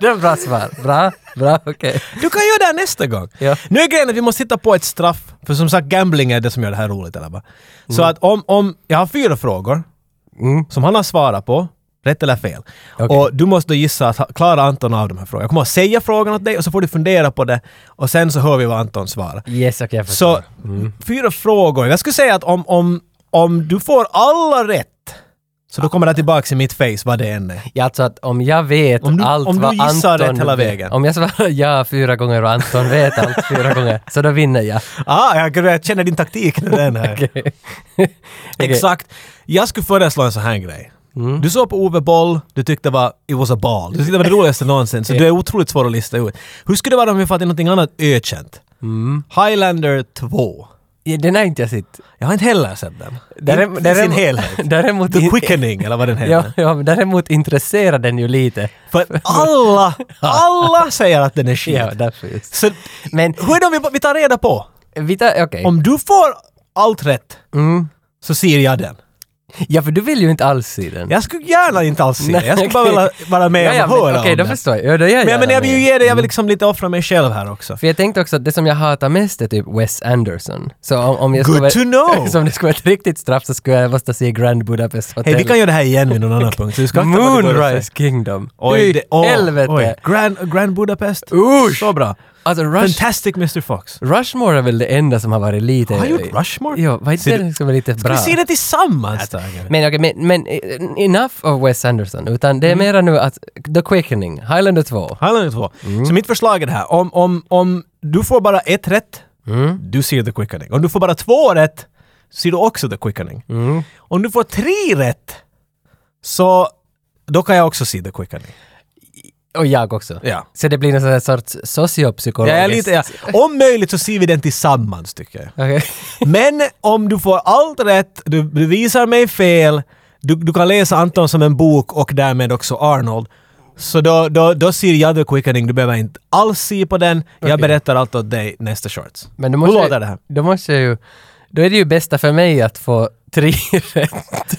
Speaker 1: det är bra svar. Bra, bra, okej.
Speaker 2: du kan göra det här nästa gång.
Speaker 1: Ja.
Speaker 2: Nu är grejen att vi måste hitta på ett straff. För som sagt, gambling är det som gör det här roligt. Eller vad? Så att om, om jag har fyra frågor
Speaker 1: Mm.
Speaker 2: som han har svarat på, rätt eller fel.
Speaker 1: Okej.
Speaker 2: Och du måste då gissa att ha- klarar Anton av de här frågorna. Jag kommer att säga frågan åt dig och så får du fundera på det och sen så hör vi vad Anton svarar.
Speaker 1: Yes, okej, jag Mm. förstår.
Speaker 2: Så fyra frågor. Jag skulle säga att om, om, om du får alla rätt så då kommer det tillbaka i mitt face vad det än är.
Speaker 1: Ja, alltså att om jag vet
Speaker 2: Om du-
Speaker 1: allt
Speaker 2: om du
Speaker 1: vad
Speaker 2: gissar
Speaker 1: Anton...
Speaker 2: rätt hela
Speaker 1: vet-
Speaker 2: vägen.
Speaker 1: Om jag svarar ja fyra gånger och Anton vet allt fyra gånger, så då vinner jag.
Speaker 2: Ah, jag, jag känner din taktik. när Den här.
Speaker 1: Okej.
Speaker 2: Exakt. Jag skulle föreslå en sån här grej.
Speaker 1: Mm.
Speaker 2: Du såg på Ove Boll, du tyckte det var “it was a ball”. Du tyckte det var det roligaste någonsin, så du är otroligt svår att lista ut. Hur skulle det vara om vi fattar någonting annat ökänt?
Speaker 1: Mm.
Speaker 2: Highlander 2.
Speaker 1: Ja, Den har inte jag sett.
Speaker 2: Jag har inte heller sett den.
Speaker 1: Därem-
Speaker 2: I sin helhet.
Speaker 1: Däremot...
Speaker 2: The Quickening, eller vad den heter.
Speaker 1: Ja, ja, men däremot intresserar den ju lite.
Speaker 2: För att alla, alla säger att den är shit.
Speaker 1: Ja, därför just.
Speaker 2: Så
Speaker 1: Men,
Speaker 2: hur är det om vi, vi tar reda på?
Speaker 1: vi tar... Okej.
Speaker 2: Om du får allt rätt,
Speaker 1: Mm.
Speaker 2: så ser jag den.
Speaker 1: Ja, för du vill ju inte alls se den.
Speaker 2: Jag skulle gärna inte alls se det. Jag skulle bara
Speaker 1: okej.
Speaker 2: vilja vara med
Speaker 1: Ja, ja,
Speaker 2: och
Speaker 1: men
Speaker 2: höra
Speaker 1: Okej,
Speaker 2: om
Speaker 1: då
Speaker 2: det.
Speaker 1: förstår jag. Ja, då är jag
Speaker 2: Men jag,
Speaker 1: Mm. gärna
Speaker 2: men jag vill ju
Speaker 1: med.
Speaker 2: ge det, jag vill liksom lite offra mig själv här också.
Speaker 1: För jag tänkte också att det som jag hatar mest är typ Wes Anderson. Så om, om jag
Speaker 2: Good
Speaker 1: skulle...
Speaker 2: to know!
Speaker 1: Som det skulle vara ett riktigt straff så skulle jag måste se Grand Budapest Hotel.
Speaker 2: Hej, vi kan göra det här igen vid någon annan punkt. Så du ska akta vad du går och
Speaker 1: Moonrise
Speaker 2: säger.
Speaker 1: Kingdom.
Speaker 2: Oj, det, åh,
Speaker 1: helvete!
Speaker 2: Oj. Grand, Grand Budapest.
Speaker 1: Usch!
Speaker 2: Så bra.
Speaker 1: Alltså Rush,
Speaker 2: Fantastic Mr Fox.
Speaker 1: Rushmore är väl det enda som har varit lite...
Speaker 2: Har han gjort Rushmore?
Speaker 1: Jo, vad
Speaker 2: Ser
Speaker 1: heter
Speaker 2: du-
Speaker 1: det som var lite
Speaker 2: Vi
Speaker 1: bra?
Speaker 2: ser det tillsammans! Tage.
Speaker 1: Men, okej, men, men eh, enough of Wes Anderson, utan det
Speaker 2: Mm.
Speaker 1: är mera nu att The Quickening, Highlander 2.
Speaker 2: Highlander 2. Så mitt förslag är det här. Om, om, om du får bara ett rätt, du ser The Quickening. Om du får bara två rätt, ser du också The Quickening. Om du får tre rätt, så då kan jag också se The Quickening.
Speaker 1: Och jag också.
Speaker 2: Ja.
Speaker 1: Så det blir någon sån här sorts sociopsykologiskt...
Speaker 2: Jag är lite, ja. Om möjligt så ser vi den tillsammans tycker jag.
Speaker 1: Okej.
Speaker 2: Men om du får allt rätt, du, du visar mig fel, du, du kan läsa Anton som en bok och därmed också Arnold. Så då, då, då ser jag The Quickening, du behöver inte alls se på den. Jag berättar allt åt dig nästa shorts.
Speaker 1: Men då
Speaker 2: Hur
Speaker 1: måste,
Speaker 2: låter det här?
Speaker 1: Då måste jag ju... Då är det ju bästa för mig att få tre rätt.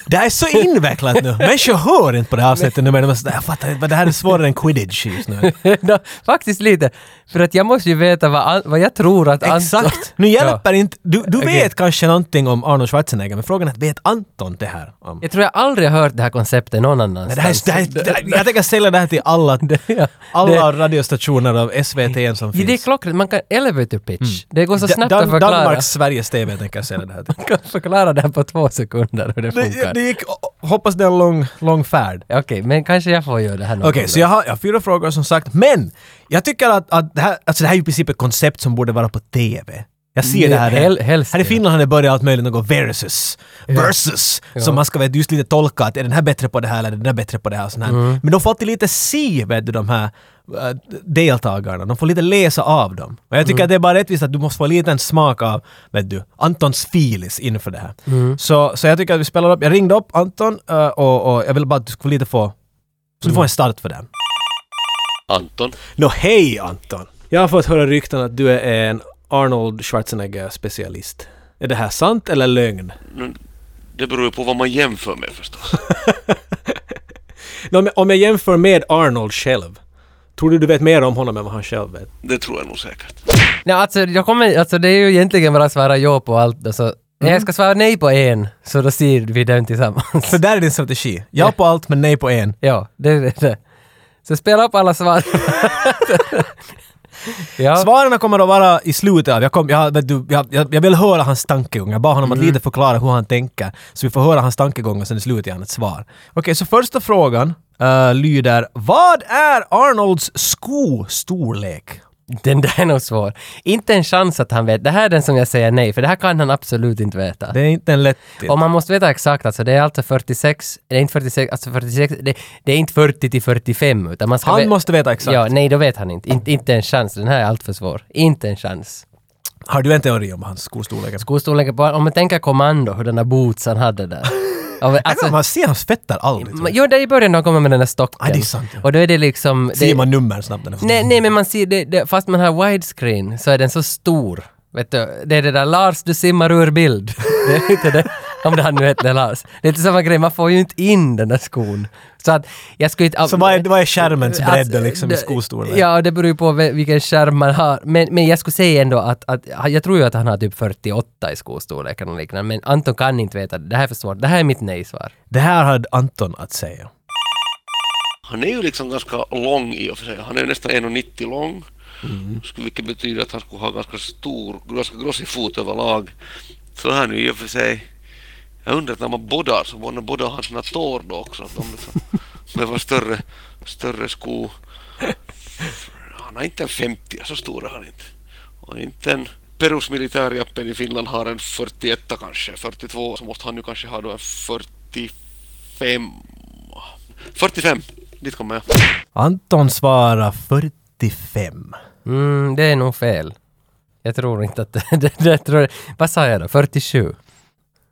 Speaker 2: Det här är så invecklat nu. Människor hör inte på det här avsnittet nu men de är sådär, jag fattar inte, vad det här är svårare än quidditch just nu.
Speaker 1: Nå, faktiskt lite. För att jag måste ju veta vad, an- vad jag tror att Anton-
Speaker 2: Exakt! Nu hjälper inte... Du, du
Speaker 1: Okej.
Speaker 2: vet kanske någonting om Arnold Schwarzenegger men frågan är, vet Anton det här? Om?
Speaker 1: Jag tror jag aldrig har hört det här konceptet någon
Speaker 2: Men
Speaker 1: annanstans.
Speaker 2: det här, är- det här, är- det här, jag tänker sälja det här till alla,
Speaker 1: ja.
Speaker 2: alla radiostationer av SVT som
Speaker 1: Ja, det är
Speaker 2: finns.
Speaker 1: klockrent. Man kan elevator pitch. Det går så
Speaker 2: Mm. Da-
Speaker 1: snabbt
Speaker 2: Dan-
Speaker 1: att förklara.
Speaker 2: Danmarks Sveriges TV tänker jag sälja det här till.
Speaker 1: Man kan förklara det här på två sekunder hur det
Speaker 2: Det,
Speaker 1: funkar.
Speaker 2: det gick, hoppas det är en lång, lång färd.
Speaker 1: Okej, men kanske jag får göra det här någon
Speaker 2: Okej,
Speaker 1: gång.
Speaker 2: så jag har, jag har fyra frågor som sagt, men jag tycker att, att det, här, alltså det här är i princip ett koncept som borde vara på TV. Jag ser det här.
Speaker 1: Hel- helst
Speaker 2: här i
Speaker 1: det.
Speaker 2: Finland har det börjat allt möjligt, något versus. Versus! Som man ska vet, just lite tolka, att är den här bättre på det här eller är den där bättre på det här? Och sånt här.
Speaker 1: Mm.
Speaker 2: Men de får alltid lite se, vet du, de här eh, deltagarna. De får lite läsa av dem. Och jag tycker
Speaker 1: Mm.
Speaker 2: att det är bara rättvist att du måste få en liten smak av, vet du, Antons filis inför det här.
Speaker 1: Mm.
Speaker 2: Så, så jag tycker att vi spelar upp. Jag ringde upp Anton eh, och, och jag vill bara att du ska få lite få så du
Speaker 1: Mm.
Speaker 2: får en start för den.
Speaker 4: Anton,
Speaker 2: Nå hej Anton! Jag har fått höra rykten att du är en Arnold Schwarzenegger-specialist. Är det här sant eller lögn?
Speaker 4: det beror ju på vad man jämför med förstås.
Speaker 2: Nå, om jag- om jag jämför med Arnold själv, tror du du vet mer om honom än vad han själv vet?
Speaker 4: Det tror jag nog säkert.
Speaker 1: Nej, alltså, jag kommer, alltså det är ju egentligen bara att svara ja på allt. Alltså, nej,
Speaker 2: Mm.
Speaker 1: Jag ska svara nej på en, så då ser vi den tillsammans.
Speaker 2: Så där är din strategi. Ja på allt men nej på en.
Speaker 1: ja, det är det. Så spela upp alla svar. ja.
Speaker 2: Svaren kommer att vara i slutet av... Jag, kom, jag, vet du, jag, jag, jag vill höra hans tankegångar. Jag bad honom att lite förklara hur han tänker. Så vi får höra hans tankegångar och sen i slutet ger han ett svar. Okej, så första frågan eh, lyder Vad är Arnolds skostorlek?
Speaker 1: Den där är nog svår. Inte en chans att han vet. Det här är den som jag säger nej, för det här kan han absolut inte veta.
Speaker 2: Det är inte en lätt...
Speaker 1: Och man måste veta exakt, alltså det är alltså 46, det är inte 46, alltså 46, det, det är inte 40 till 45 utan man ska
Speaker 2: Han
Speaker 1: ve-
Speaker 2: måste veta exakt.
Speaker 1: Ja, nej då vet han inte. In, inte en chans, den här är allt för svår. Inte en chans.
Speaker 2: Har du en teori om hans skostorlek?
Speaker 1: Skostorleken på, om man tänker kommando, hur den där boots han hade där. Ja, men
Speaker 2: Alltså,
Speaker 1: alltså,
Speaker 2: man ser hans fötter aldrig. tror jag.
Speaker 1: jo, det är i början när han kommer med den där stocken.
Speaker 2: Ja, det är sant, ja.
Speaker 1: Och då är det liksom...
Speaker 2: Ser
Speaker 1: det,
Speaker 2: man nummer snabbt? när den-
Speaker 1: Nej, nej, men man ser, det, det, fast man har widescreen så är den så stor. Vet du, det är det där Lars, du simmar ur bild. Det är inte det, om det han nu heter Lars. Det är inte samma grej, man får ju inte in den där skon. Så att jag skulle inte...
Speaker 2: Så vad är, vad är skärmens bredd
Speaker 1: Alltså,
Speaker 2: liksom i
Speaker 1: det-
Speaker 2: skostorlek?
Speaker 1: Ja, det beror ju på ve- vilken skärm man har. Men, men jag skulle säga ändå att, att jag tror ju att han har typ 48 i skostorleken och liknande. Men Anton kan inte veta det. Det här är för svårt. Det här är mitt nej-svar.
Speaker 2: Det här hade Anton att säga.
Speaker 4: Han är ju liksom ganska lång i och för sig. Han är ju nästan 1,90 lång. skulle- Vilket betyder att han skulle ha ganska stor, ganska grossig fot överlag. Så han är ju i och för sig... Jag undrar när man boddar så man boddar han sina tår då också. Att de liksom, med var större, större sko. Han är inte en 50, så stor är han inte. Och inte en perusmilitärjappen i Finland har en 41 kanske, 42, så måste han nu kanske ha då en 45. 45, dit kommer jag.
Speaker 2: Anton svarar 45.
Speaker 1: Mm, det är nog fel. Jag tror inte att det... det, det tror, vad sa jag då? 47?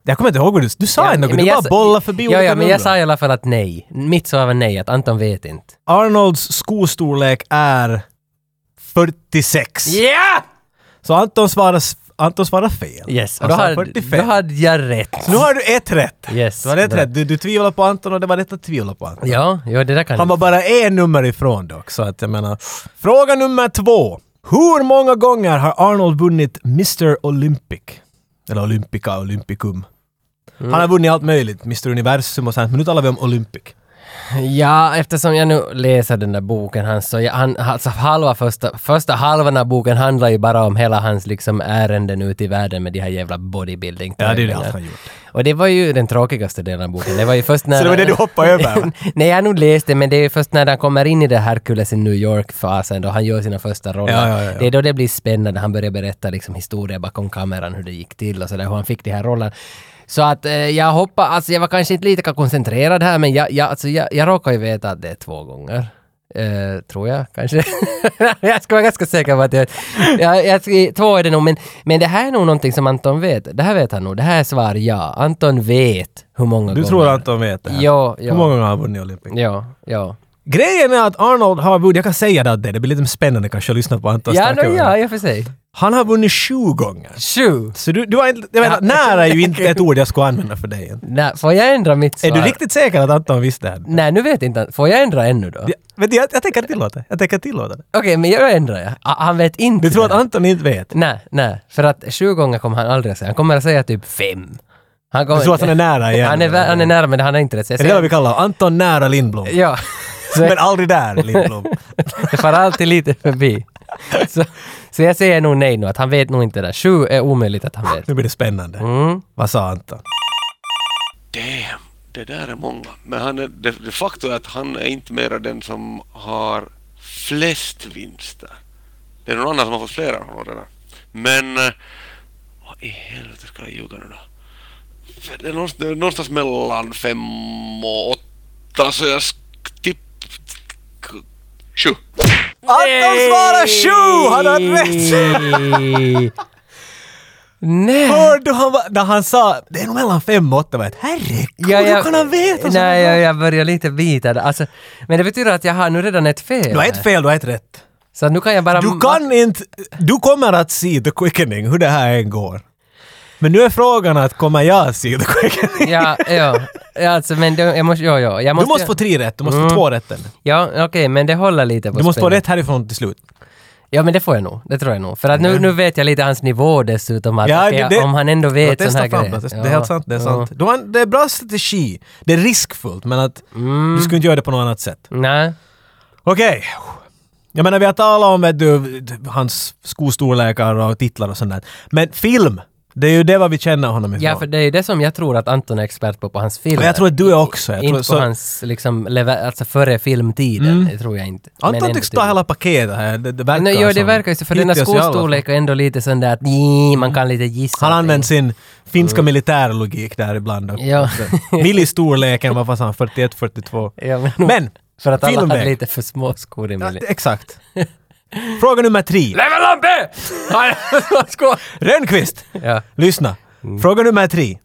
Speaker 2: Jag kommer inte ihåg vad du... Du sa ja, något,
Speaker 1: men
Speaker 2: du
Speaker 1: jag
Speaker 2: bara
Speaker 1: sa-
Speaker 2: bollade förbi
Speaker 1: ja, ja, men
Speaker 2: nummer.
Speaker 1: jag sa i alla fall att nej. Mitt svar var nej, att Anton vet inte.
Speaker 2: Arnolds skostorlek är 46.
Speaker 1: Ja!
Speaker 2: Så Anton svarar, Anton svarar fel.
Speaker 1: Yes, och
Speaker 2: Han
Speaker 1: då
Speaker 2: sa
Speaker 1: hade,
Speaker 2: 45.
Speaker 1: då hade jag rätt.
Speaker 2: Nu har du ett rätt!
Speaker 1: Yes.
Speaker 2: Det var ett
Speaker 1: bra.
Speaker 2: rätt. Du, du tvivlade på Anton och det var rätt att tvivla på Anton.
Speaker 1: Ja, ja, det där kan
Speaker 2: Han var bara en nummer ifrån dock, så att jag menar... Fråga nummer två. Hur många gånger har Arnold vunnit Mr Olympic? Eller Olympica, Olympicum.
Speaker 1: Mm.
Speaker 2: Han har vunnit allt möjligt, Mr Universum och sånt, men nu talar vi om Olympic.
Speaker 1: Ja, eftersom jag nu läser den där boken hans, så jag, han, alltså halva första, första halvan av boken handlar ju bara om hela hans liksom ärenden ute i världen med de här jävla bodybuilding
Speaker 2: Ja, det är det allt han gjort.
Speaker 1: Och det var ju den tråkigaste delen av boken. Det var ju först när...
Speaker 2: Så det var det du hoppade över, va?
Speaker 1: Nej, jag har nog läst det, men det är ju först när han kommer in i det Hercules i New York-fasen då han gör sina första roller.
Speaker 2: Ja, ja, ja, ja.
Speaker 1: Det är då det blir spännande. Han börjar berätta liksom historia bakom kameran, hur det gick till och sådär, hur han fick de här rollerna. Så att eh, jag hoppas, alltså jag var kanske inte lika koncentrerad här, men jag, jag, alltså, jag, jag råkar ju veta att det är två gånger. Eh, tror jag kanske. jag ska vara ganska säker på att jag, jag, jag ska- Två är det nog, men, men det här är nog någonting som Anton vet. Det här vet han nog. Det här är svar ja. Anton vet hur
Speaker 2: Du
Speaker 1: många gånger.
Speaker 2: tror Anton vet det här?
Speaker 1: Ja, ja.
Speaker 2: Hur många gånger har han vunnit Olympic?
Speaker 1: Ja, ja.
Speaker 2: Grejen är att Arnold har vunnit, jag kan säga det åt dig, det blir lite spännande kanske att lyssna på Anton
Speaker 1: Ja,
Speaker 2: snacka
Speaker 1: no,
Speaker 2: om det.
Speaker 1: ja, i och för sig.
Speaker 2: Han har vunnit sju gånger.
Speaker 1: Sju.
Speaker 2: Så du, du har inte, jag menar, nära är ju inte ett ord jag skulle använda för dig.
Speaker 1: Nä, får jag ändra mitt svar?
Speaker 2: Är du riktigt säker att Anton visste det här?
Speaker 1: Nej, nu vet jag inte. Får jag ändra ännu då?
Speaker 2: Ja, Vet du, jag, jag tänker tillåta Jag tänker tillåta det.
Speaker 1: Okej, men jag ändrar jag. Ah, Han vet inte.
Speaker 2: Du tror att
Speaker 1: det här.
Speaker 2: Anton inte vet?
Speaker 1: Nej, nej. För att sju gånger kommer han aldrig att säga. Han kommer att säga typ fem. Han kommer...
Speaker 2: Du tror att han är nära igen?
Speaker 1: Han är, vä- han är nära, men han är inte rätt. Jag
Speaker 2: Är det vad vi
Speaker 1: säger...
Speaker 2: kallar honom? Anton nära Lindblom.
Speaker 1: Ja. Så
Speaker 2: Men aldrig där Lindblom.
Speaker 1: det far alltid lite förbi. Så, så jag säger nog nej nu, att han vet nog inte det. Sju är omöjligt att han vet.
Speaker 2: Nu blir det spännande.
Speaker 1: Mm.
Speaker 2: Vad sa Anton?
Speaker 4: Damn, det där är många. Men han är, det, det faktum är att han är inte mera den som har flest vinster. Det är någon annan som har fått flera än honom redan. Men eh, vad i helvete ska jag ljuga nu då? För Det är någonstans, det är någonstans mellan fem och åtta, så jag sk- tipp... k- Sju.
Speaker 2: Anton svarar sju! Han har rätt!
Speaker 1: rätt! Nej!
Speaker 2: Hörde du han va- när han sa det är nog mellan fem och åtta? Jag vet, Herregud,
Speaker 1: Ja,
Speaker 2: hur kan han veta så
Speaker 1: Nej,
Speaker 2: bra?
Speaker 1: jag, jag börjar lite bita där. alltså, Men det betyder att jag har nu redan ett fel.
Speaker 2: Du har ett fel, du har ett rätt.
Speaker 1: Så nu kan jag bara...
Speaker 2: Du kan inte... Du kommer att se the quickening hur det här än går. Men nu är frågan att kommer jag se the quickening?
Speaker 1: Ja, ja. Ja, Alltså, men det, jag måste... Ja, ja. Jag Mm.
Speaker 2: Du
Speaker 1: måste,
Speaker 2: måste få tre rätt, du måste få två rätt. än.
Speaker 1: Ja, okej, men det håller lite på
Speaker 2: Du måste få
Speaker 1: spänningen.
Speaker 2: rätt härifrån till slut.
Speaker 1: Ja men det får jag nog, det tror jag nog. För att nu, nu vet jag lite hans nivå dessutom, att
Speaker 2: Ja,
Speaker 1: okej,
Speaker 2: det- det-
Speaker 1: om han ändå
Speaker 2: Du har
Speaker 1: vet sån
Speaker 2: testat
Speaker 1: här
Speaker 2: fram
Speaker 1: grejer.
Speaker 2: det. Det
Speaker 1: Ja,
Speaker 2: är helt sant, det är
Speaker 1: ja.
Speaker 2: sant. Du har, en- det är bra strategi. Det är riskfullt, men att
Speaker 1: Mm.
Speaker 2: du skulle inte göra det på något annat sätt.
Speaker 1: Nej.
Speaker 2: Okej. Jag menar, vi har talat om vet du, hans skostorlekar och titlar och sånt där. Men film, det är ju det vad vi känner honom ifrån.
Speaker 1: Ja för det är ju det som jag tror att Anton är expert på, på hans film.
Speaker 2: Men jag tror att du är också. Jag
Speaker 1: inte
Speaker 2: tror,
Speaker 1: på
Speaker 2: så, Mm.
Speaker 1: hans, liksom, leva, alltså före filmtiden, det tror jag inte. typ.
Speaker 2: Anton tycks ta hela paketet här. Det, det verkar
Speaker 1: Nej, ja, det
Speaker 2: som.
Speaker 1: verkar ju så, för denna
Speaker 2: Hittills i alla fall.
Speaker 1: skostorlek är ändå lite sån där att "Nj", man kan lite gissa.
Speaker 2: Han
Speaker 1: att det-
Speaker 2: använder sin finska militärlogik där ibland. och-
Speaker 1: Mm. Ja.
Speaker 2: Millistorleken, vad fan sa han, 41, 42.
Speaker 1: Ja, men,
Speaker 2: Men,
Speaker 1: för att alla hade
Speaker 2: filmväg.
Speaker 1: lite för små skor i
Speaker 2: Ja,
Speaker 1: miljön.
Speaker 2: exakt. Fråga nummer tre.
Speaker 1: Level up! Nej, skor!
Speaker 2: Rönnqvist!
Speaker 1: Ja. Mm.
Speaker 2: Lyssna. Fråga nummer tre.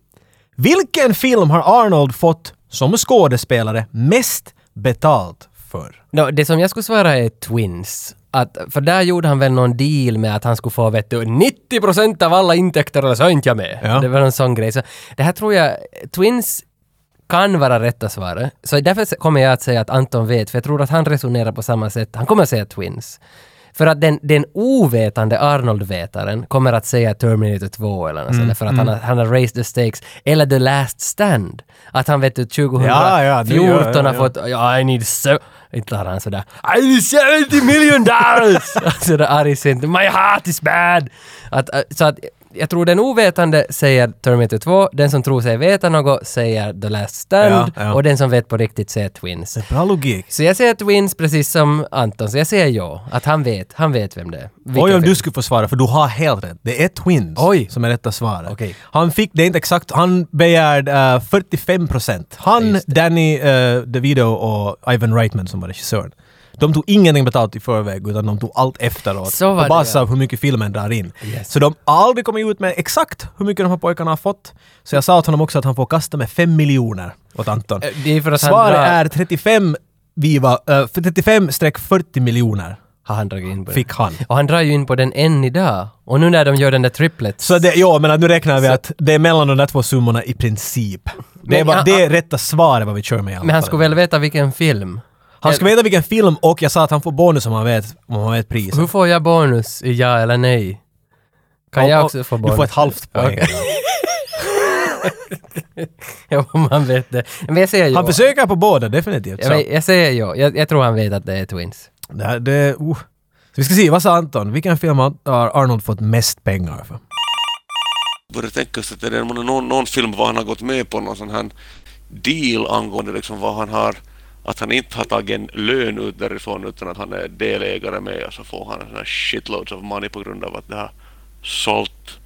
Speaker 2: Vilken film har Arnold fått, som skådespelare, mest betalt för?
Speaker 1: No, det som jag skulle svara är Twins. Att, för där gjorde han väl någon deal med att han skulle få vet du, 90% av alla intäkter eller så är inte jag med.
Speaker 2: Ja.
Speaker 1: Det var någon sån grej. Så det här tror jag, Twins kan vara rätta svaret. Så därför kommer jag att säga att Anton vet, för jag tror att han resonerar på samma sätt. Han kommer att säga Twins. För att den, den ovetande Arnold-vetaren kommer att säga Terminator 2 eller något
Speaker 2: Mm,
Speaker 1: sånt där, för att han, har, han har raised the stakes. Eller The Last Stand. Att han vet du 2014
Speaker 2: Ja, ja, det- ja, ja,
Speaker 1: har
Speaker 2: ja.
Speaker 1: fått Ja, I need so... Inte har han sådär I need 70 million dollars! alltså det arg synt. My heart is bad! Att, äh, så att jag tror den ovetande säger Terminator 2, den som tror sig veta något säger The Last Stand
Speaker 2: Ja, ja.
Speaker 1: och den som vet på riktigt säger Twins.
Speaker 2: Bra logik.
Speaker 1: Så jag säger Twins precis som Anton, så jag säger ja. Att han vet, han vet vem det är. Vilken
Speaker 2: Oj om
Speaker 1: film.
Speaker 2: du skulle få svara, för du har helt rätt. Det är Twins
Speaker 1: Oj.
Speaker 2: som är rätta svaret.
Speaker 1: Okej.
Speaker 2: Han fick, det är inte exakt, han begärde eh, 45 procent. Han, Danny eh, DeVito och Ivan Reitman som var regissören. De tog ingenting betalt i förväg utan de tog allt efteråt.
Speaker 1: Så var
Speaker 2: på
Speaker 1: det,
Speaker 2: basis
Speaker 1: ja.
Speaker 2: av hur mycket filmen drar in.
Speaker 1: Yes.
Speaker 2: Så de har aldrig kommit ut med exakt hur mycket de här pojkarna har fått. Så jag sa åt honom också att han får kasta med 5 miljoner åt Anton.
Speaker 1: Eh, Det är för att
Speaker 2: Svaret
Speaker 1: han drar,
Speaker 2: är 35 viva, eh, 35-40 miljoner
Speaker 1: har han dragit in på det.
Speaker 2: fick han.
Speaker 1: Och han drar ju in på den än idag. Och nu när de gör den där triplets.
Speaker 2: Så det, ja, men att nu räknar vi att det är mellan de där två summorna i princip. Det är,
Speaker 1: Men
Speaker 2: bara,
Speaker 1: han-
Speaker 2: det är rätta svaret vad vi kör med i alla
Speaker 1: men han
Speaker 2: fall.
Speaker 1: skulle väl veta vilken film?
Speaker 2: han ska veta vilken film och jag sa att han får bonus om han vet, om han vet priset.
Speaker 1: Hur får jag bonus i ja eller nej? Kan
Speaker 2: Och-
Speaker 1: jag
Speaker 2: och-
Speaker 1: också få
Speaker 2: Du
Speaker 1: bonus?
Speaker 2: får ett halvt poäng.
Speaker 1: ja, om man vet det. Men jag säger
Speaker 2: Han
Speaker 1: ja.
Speaker 2: försöker på båda, definitivt.
Speaker 1: Jag,
Speaker 2: Så.
Speaker 1: vet- jag säger ja. Jag, jag tror han vet att det är Twins.
Speaker 2: Det, här- det, uh. så vi ska se, vad sa Anton? Vilken film har Arnold fått mest pengar för?
Speaker 4: började tänka sig att det är någon, någon film var han har gått med på någon sån här deal angående liksom vad han har, att han inte har tagit en lön ut därifrån utan att han är delägare med och så får han en sån här shitloads of money på grund av att det har sålt.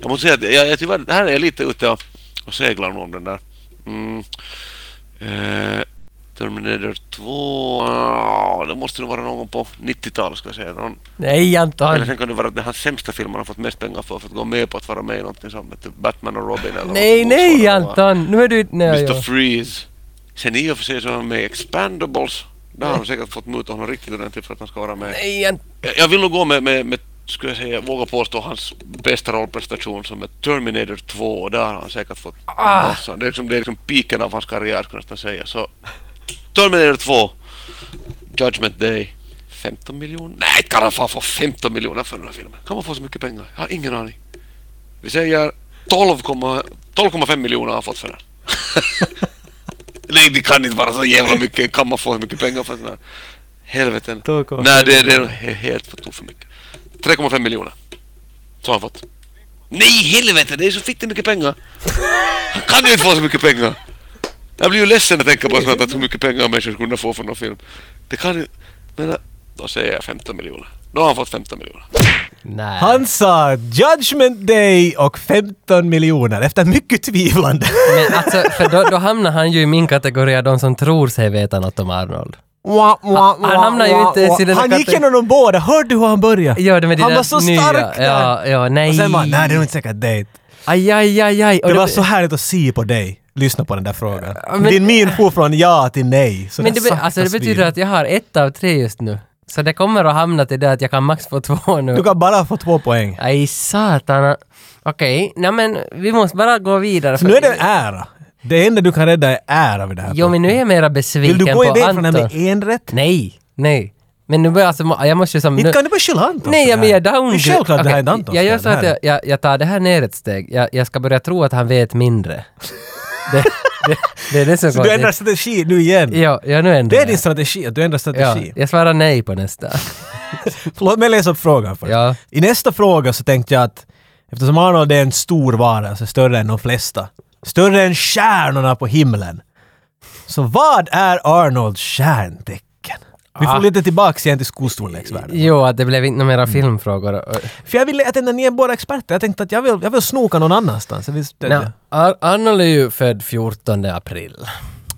Speaker 4: Jag måste säga att jag, jag tyvärr, det här är lite ute och, och seglar nu om den där. Mm. Eh, Terminator 2, ah, det måste nog vara någon på 90-talet ska jag säga. Någon,
Speaker 1: Nej Anton!
Speaker 4: eller sen kan det vara att det är hans sämsta film han har fått mest pengar för, för att gå med på att vara med i någonting som heter Batman och Robin eller något
Speaker 1: Nej, nej
Speaker 4: motsvarande.
Speaker 1: Anton! Nu är du... Nej,
Speaker 4: Mr
Speaker 1: ja.
Speaker 4: Freeze. Sen i och för sig så är han med i Expandables. Där har de säkert fått muta honom riktigt ordentligt för att han ska vara med.
Speaker 1: Nej, en-
Speaker 4: Jag- Jag vill nog gå med, med, med skulle jag säga, våga påstå hans bästa rollprestation som är Terminator 2 och där har han säkert fått massa. Det är liksom, det är liksom piken av hans karriär skulle jag nästan säga. Så Terminator 2, Judgment Day, 15 miljoner? Nej, inte kan han fan få 15 miljoner för den här filmen. Kan man få så mycket pengar? Jag har ingen aning. Vi säger 12,5 12,5 miljoner har han fått för den. Nej, det kan inte vara så jävla mycket. Kan man få hur mycket pengar för den här? Helveten.
Speaker 2: 12,5
Speaker 4: Nej, det, det är nog he- helt för, tog för mycket. 3,5 miljoner. Så har han fått. Nej, helvete, det är så fitte mycket pengar. Han kan ju inte få så mycket pengar. Jag blir ju ledsen att tänka på sånt att hur mycket pengar människor skulle kunna få för någon film. Det kan ju... Men eh, då säger jag 15 miljoner. Nu har han fått 15 miljoner.
Speaker 1: Nej.
Speaker 2: Han sa Judgment Day och 15 miljoner efter mycket tvivlande.
Speaker 1: Men alltså, för då, då hamnar han ju i min kategori av de som tror sig veta något om Arnold.
Speaker 2: Wah, wah,
Speaker 1: Han- han
Speaker 2: wah,
Speaker 1: hamnar ju
Speaker 2: wah,
Speaker 1: inte ens i
Speaker 2: wah.
Speaker 1: den här
Speaker 2: Han gick
Speaker 1: kategorin.
Speaker 2: igenom dem båda, hörde du hur han började?
Speaker 1: Ja, det med
Speaker 2: han
Speaker 1: de
Speaker 2: var så
Speaker 1: nya.
Speaker 2: stark där.
Speaker 1: Ja, ja, nej.
Speaker 2: Och sen bara, nej det är nog inte säkert dig.
Speaker 1: Aj, aj, aj, aj. Och
Speaker 2: Det
Speaker 1: då-
Speaker 2: var så härligt att se på dig. Lyssna på den där frågan.
Speaker 1: men-
Speaker 2: Din min for från ja till nej. Så
Speaker 1: Men
Speaker 2: där
Speaker 1: det, be-
Speaker 2: sakta
Speaker 1: alltså, det
Speaker 2: svin.
Speaker 1: betyder att jag har ett av tre just nu. Så det kommer att hamna till det att jag kan max få två nu.
Speaker 2: Du kan bara få två poäng.
Speaker 1: Aj, satan. Okej, nej men vi måste bara gå vidare.
Speaker 2: Så nu är det ära. Det enda du kan rädda är ära vid det här.
Speaker 1: Jo, men nu är jag mera besviken
Speaker 2: Vill du gå
Speaker 1: på
Speaker 2: iväg
Speaker 1: Anton.
Speaker 2: från det här e- med en rätt?
Speaker 1: Nej, nej. Men nu börjar alltså, må- jag måste ju som...
Speaker 2: Inte
Speaker 1: nu-
Speaker 2: kan du bara skylla Anton
Speaker 1: Nej,
Speaker 2: för
Speaker 1: jag,
Speaker 2: det
Speaker 1: men
Speaker 2: här.
Speaker 1: jag down...
Speaker 2: Det är självklart det här är inte Antons
Speaker 1: Jag gör
Speaker 2: fel,
Speaker 1: så
Speaker 2: det
Speaker 1: att
Speaker 2: här
Speaker 1: jag,
Speaker 2: är-
Speaker 1: jag, jag tar det här ner ett steg. Jag, jag ska börja tro att han vet mindre. Det, det, det är det som
Speaker 2: Så du ändrar strategi nu igen.
Speaker 1: Ja, jag nu ändrar
Speaker 2: Det är
Speaker 1: jag.
Speaker 2: din strategi, att du ändrar
Speaker 1: ja,
Speaker 2: strategi.
Speaker 1: Jag svarar nej på nästa.
Speaker 2: Låt mig läsa upp frågan först.
Speaker 1: Ja.
Speaker 2: I nästa fråga så tänkte jag att eftersom Arnold är en stor varelse, större än de flesta, större än stjärnorna på himlen. Så vad är Arnolds stjärntecken? Vi
Speaker 1: Ah.
Speaker 2: får lite tillbaks igen till skostorleksvärlden.
Speaker 1: Jo, att det blev inte några mera filmfrågor. Och-
Speaker 2: För jag ville, jag tänkte, ni är båda experter, jag tänkte att jag vill, jag vill snoka någon annanstans. Så vi stödjer-
Speaker 1: Nå, Ar- Arnold är ju född 14 april.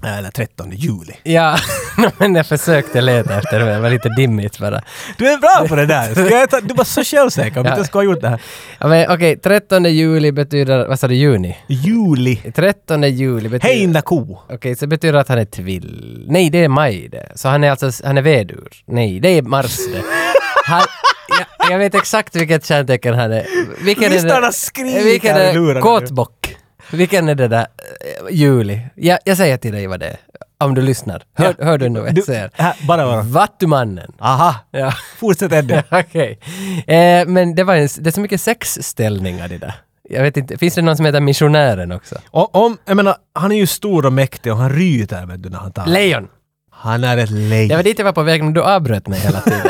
Speaker 2: Eller 13 juli.
Speaker 1: Ja, men jag försökte leta efter det. Det var lite dimmigt bara.
Speaker 2: Du är bra på det där! Ska jag ta, du var så självsäker om du
Speaker 1: Ja.
Speaker 2: inte skulle ha gjort det här.
Speaker 1: Ja, men Okej, 13 juli betyder... Vad sa du? Juni?
Speaker 2: Juli.
Speaker 1: 13 juli betyder...
Speaker 2: Hej inna ko!
Speaker 1: Okej, så betyder det att han är tvill... Nej, det är maj det. Så han är alltså... Han är vedur. Nej, det är mars det. Han, jag, jag vet exakt vilket stjärntecken han är. Vilken är
Speaker 2: Lyssnarna
Speaker 1: det?
Speaker 2: skriker
Speaker 1: Vilken
Speaker 2: i
Speaker 1: är
Speaker 2: lurarna nu.
Speaker 1: det? Kåtbock. Vilken är det där? eh, Juli. Jag, jag säger till dig vad det är. Om du lyssnar. Hör, hör du nu vad
Speaker 2: Du,
Speaker 1: jag säger?
Speaker 2: här, bara bara.
Speaker 1: Vattumannen.
Speaker 2: Aha!
Speaker 1: Ja.
Speaker 2: Fortsätt Eddie.
Speaker 1: Okej. Eh, men det var en, det är så mycket sexställningar i det. Jag vet inte, finns det någon som heter missionären också?
Speaker 2: O- Om, jag menar, han är ju stor och mäktig och han ryter vet du när han talar.
Speaker 1: Lejon!
Speaker 2: Han är ett
Speaker 1: Det var
Speaker 2: lejon.
Speaker 1: dit jag var på väg men du avbröt mig hela tiden.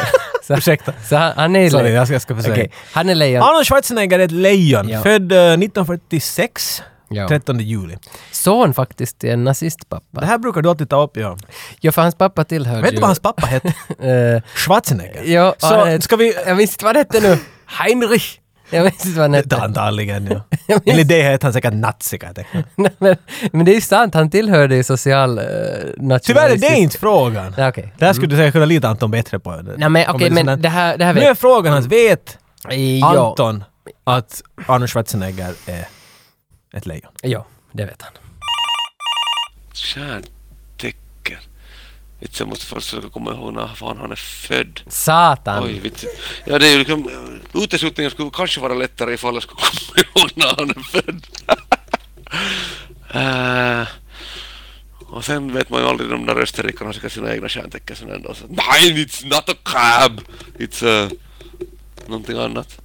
Speaker 1: Så,
Speaker 2: Ursäkta.
Speaker 1: så han, han är
Speaker 2: Sorry,
Speaker 1: lejon.
Speaker 2: jag ska, jag ska försöka.
Speaker 1: Okej, Han är lejon.
Speaker 2: Arnold Schwarzenegger är ett lejon,
Speaker 1: Ja.
Speaker 2: född eh, 1946,
Speaker 1: Ja.
Speaker 2: 13 juli.
Speaker 1: Son faktiskt till en nazistpappa.
Speaker 2: Det här brukar du alltid ta upp, ja.
Speaker 1: Ja, för hans pappa tillhörde
Speaker 2: Vet du
Speaker 1: ju-
Speaker 2: vad hans pappa hette?
Speaker 1: Eh,
Speaker 2: Schwarzenegger.
Speaker 1: ja, eh,
Speaker 2: Så
Speaker 1: Arnold-
Speaker 2: ska vi...
Speaker 1: Jag minns inte vad han hette nu. Heinrich! Jag minns inte vad han hette.
Speaker 2: Antagligen, ja.
Speaker 1: Jag minns-
Speaker 2: Enligt det hette han säkert nazi, kan jag tänka mig.
Speaker 1: Nej, men, men det är ju sant, han tillhörde ju social eh, nationalistisk...
Speaker 2: Tyvärr är det inte frågan.
Speaker 1: Ja, okej.
Speaker 2: Det här skulle du säkert kunna lita Anton bättre på.
Speaker 1: Nej men okej, men det här, det här
Speaker 2: Nu är frågan att vet
Speaker 1: Eh, ja.
Speaker 2: Anton att Arnold Schwarzenegger är ett lejon?
Speaker 1: Ja, det vet han.
Speaker 4: Stjärntecken. Vitsen, jag måste först försöka komma ihåg när fan han är född.
Speaker 1: Satan!
Speaker 4: Oj, vitsen. Ja, niin, det är ju liksom... Uteslutningen skulle kanske vara lättare ifall jag skulle komma ihåg när han är född. Eh, och sen vet man ju aldrig, de där österrikarna har säkert sina egna stjärntecken sen ändå. Så, Nej, it's not a crab! It's a... Någonting annat.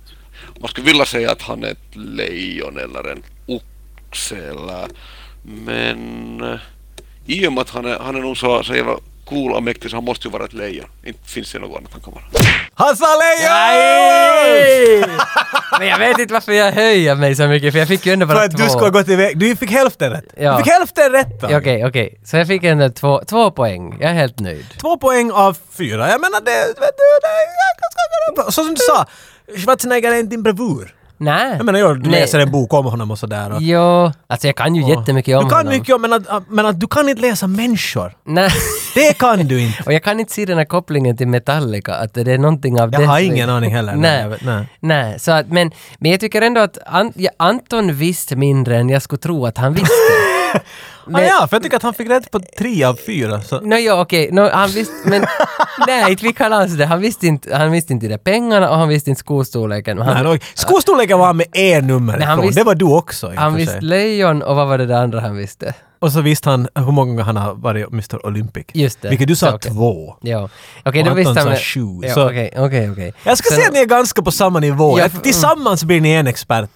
Speaker 4: Man skulle vilja säga att han är ett lejon eller en oxe eller... Men... eh, I och med att han är, han är nog så, så jävla cool och mäktig så han måste ju vara ett lejon. Inte finns det något annat han kan vara.
Speaker 2: Han sa lejon!
Speaker 1: Nej! Men jag vet inte varför jag höjer mig så mycket, för jag fick ju ändå bara
Speaker 2: För att
Speaker 1: två.
Speaker 2: du ska ha gått iväg. Du fick hälften rätt.
Speaker 1: Ja.
Speaker 2: Du fick hälften rätt! då.
Speaker 1: Ja, Okej, okej. Så jag fick ändå två, två poäng. Jag är helt nöjd.
Speaker 2: Två poäng av fyra. Jag menar det... Vet du, det jag ska- ska- ska- så som du sa, Schwarzenegger är inte din bravur.
Speaker 1: Nej.
Speaker 2: Jag menar, jag, du
Speaker 1: Nej.
Speaker 2: läser en bok om honom och sådär. Och,
Speaker 1: Jo, alltså jag kan ju jättemycket om
Speaker 2: du kan
Speaker 1: honom.
Speaker 2: mycket om, men att, men att du kan inte läsa människor.
Speaker 1: Nej.
Speaker 2: Det kan du inte.
Speaker 1: Och jag kan inte se den här kopplingen till Metallica, att det är någonting av
Speaker 2: Jag
Speaker 1: det.
Speaker 2: har ingen aning heller. Nej, jag
Speaker 1: Nej.
Speaker 2: vet- nej.
Speaker 1: Nej, så att, men, men jag tycker ändå att An, ja, Anton visste mindre än jag skulle tro att han visste.
Speaker 2: ah, ja, för jag tycker att han fick rätt på tre av fyra. Så.
Speaker 1: Nå ja, okej. Nå, han visste... Men nej, inte fick han alls det. Han visste inte, han visste inte de pengarna och han visste inte skostorleken. Men
Speaker 2: Nej,
Speaker 1: Han,
Speaker 2: då- Skostorleken var han med en nummer
Speaker 1: Nej, han
Speaker 2: ifrån.
Speaker 1: visste-
Speaker 2: Det var du också i och
Speaker 1: han
Speaker 2: för
Speaker 1: visste
Speaker 2: sig.
Speaker 1: lejon och vad var det där andra han visste?
Speaker 2: Och så visste han hur många gånger han har varit Mr Olympic.
Speaker 1: Just det.
Speaker 2: Vilket du sa
Speaker 1: Så, okej.
Speaker 2: två.
Speaker 1: Ja. Okej,
Speaker 2: Och
Speaker 1: då visste
Speaker 2: Anton
Speaker 1: han...
Speaker 2: sa sju,
Speaker 1: Ja,
Speaker 2: så-
Speaker 1: Okej, okej, okej.
Speaker 2: Jag ska
Speaker 1: Sen-
Speaker 2: säga att ni är ganska på samma nivå.
Speaker 1: Ja,
Speaker 2: Att
Speaker 1: för-
Speaker 2: Tillsammans blir ni en expert.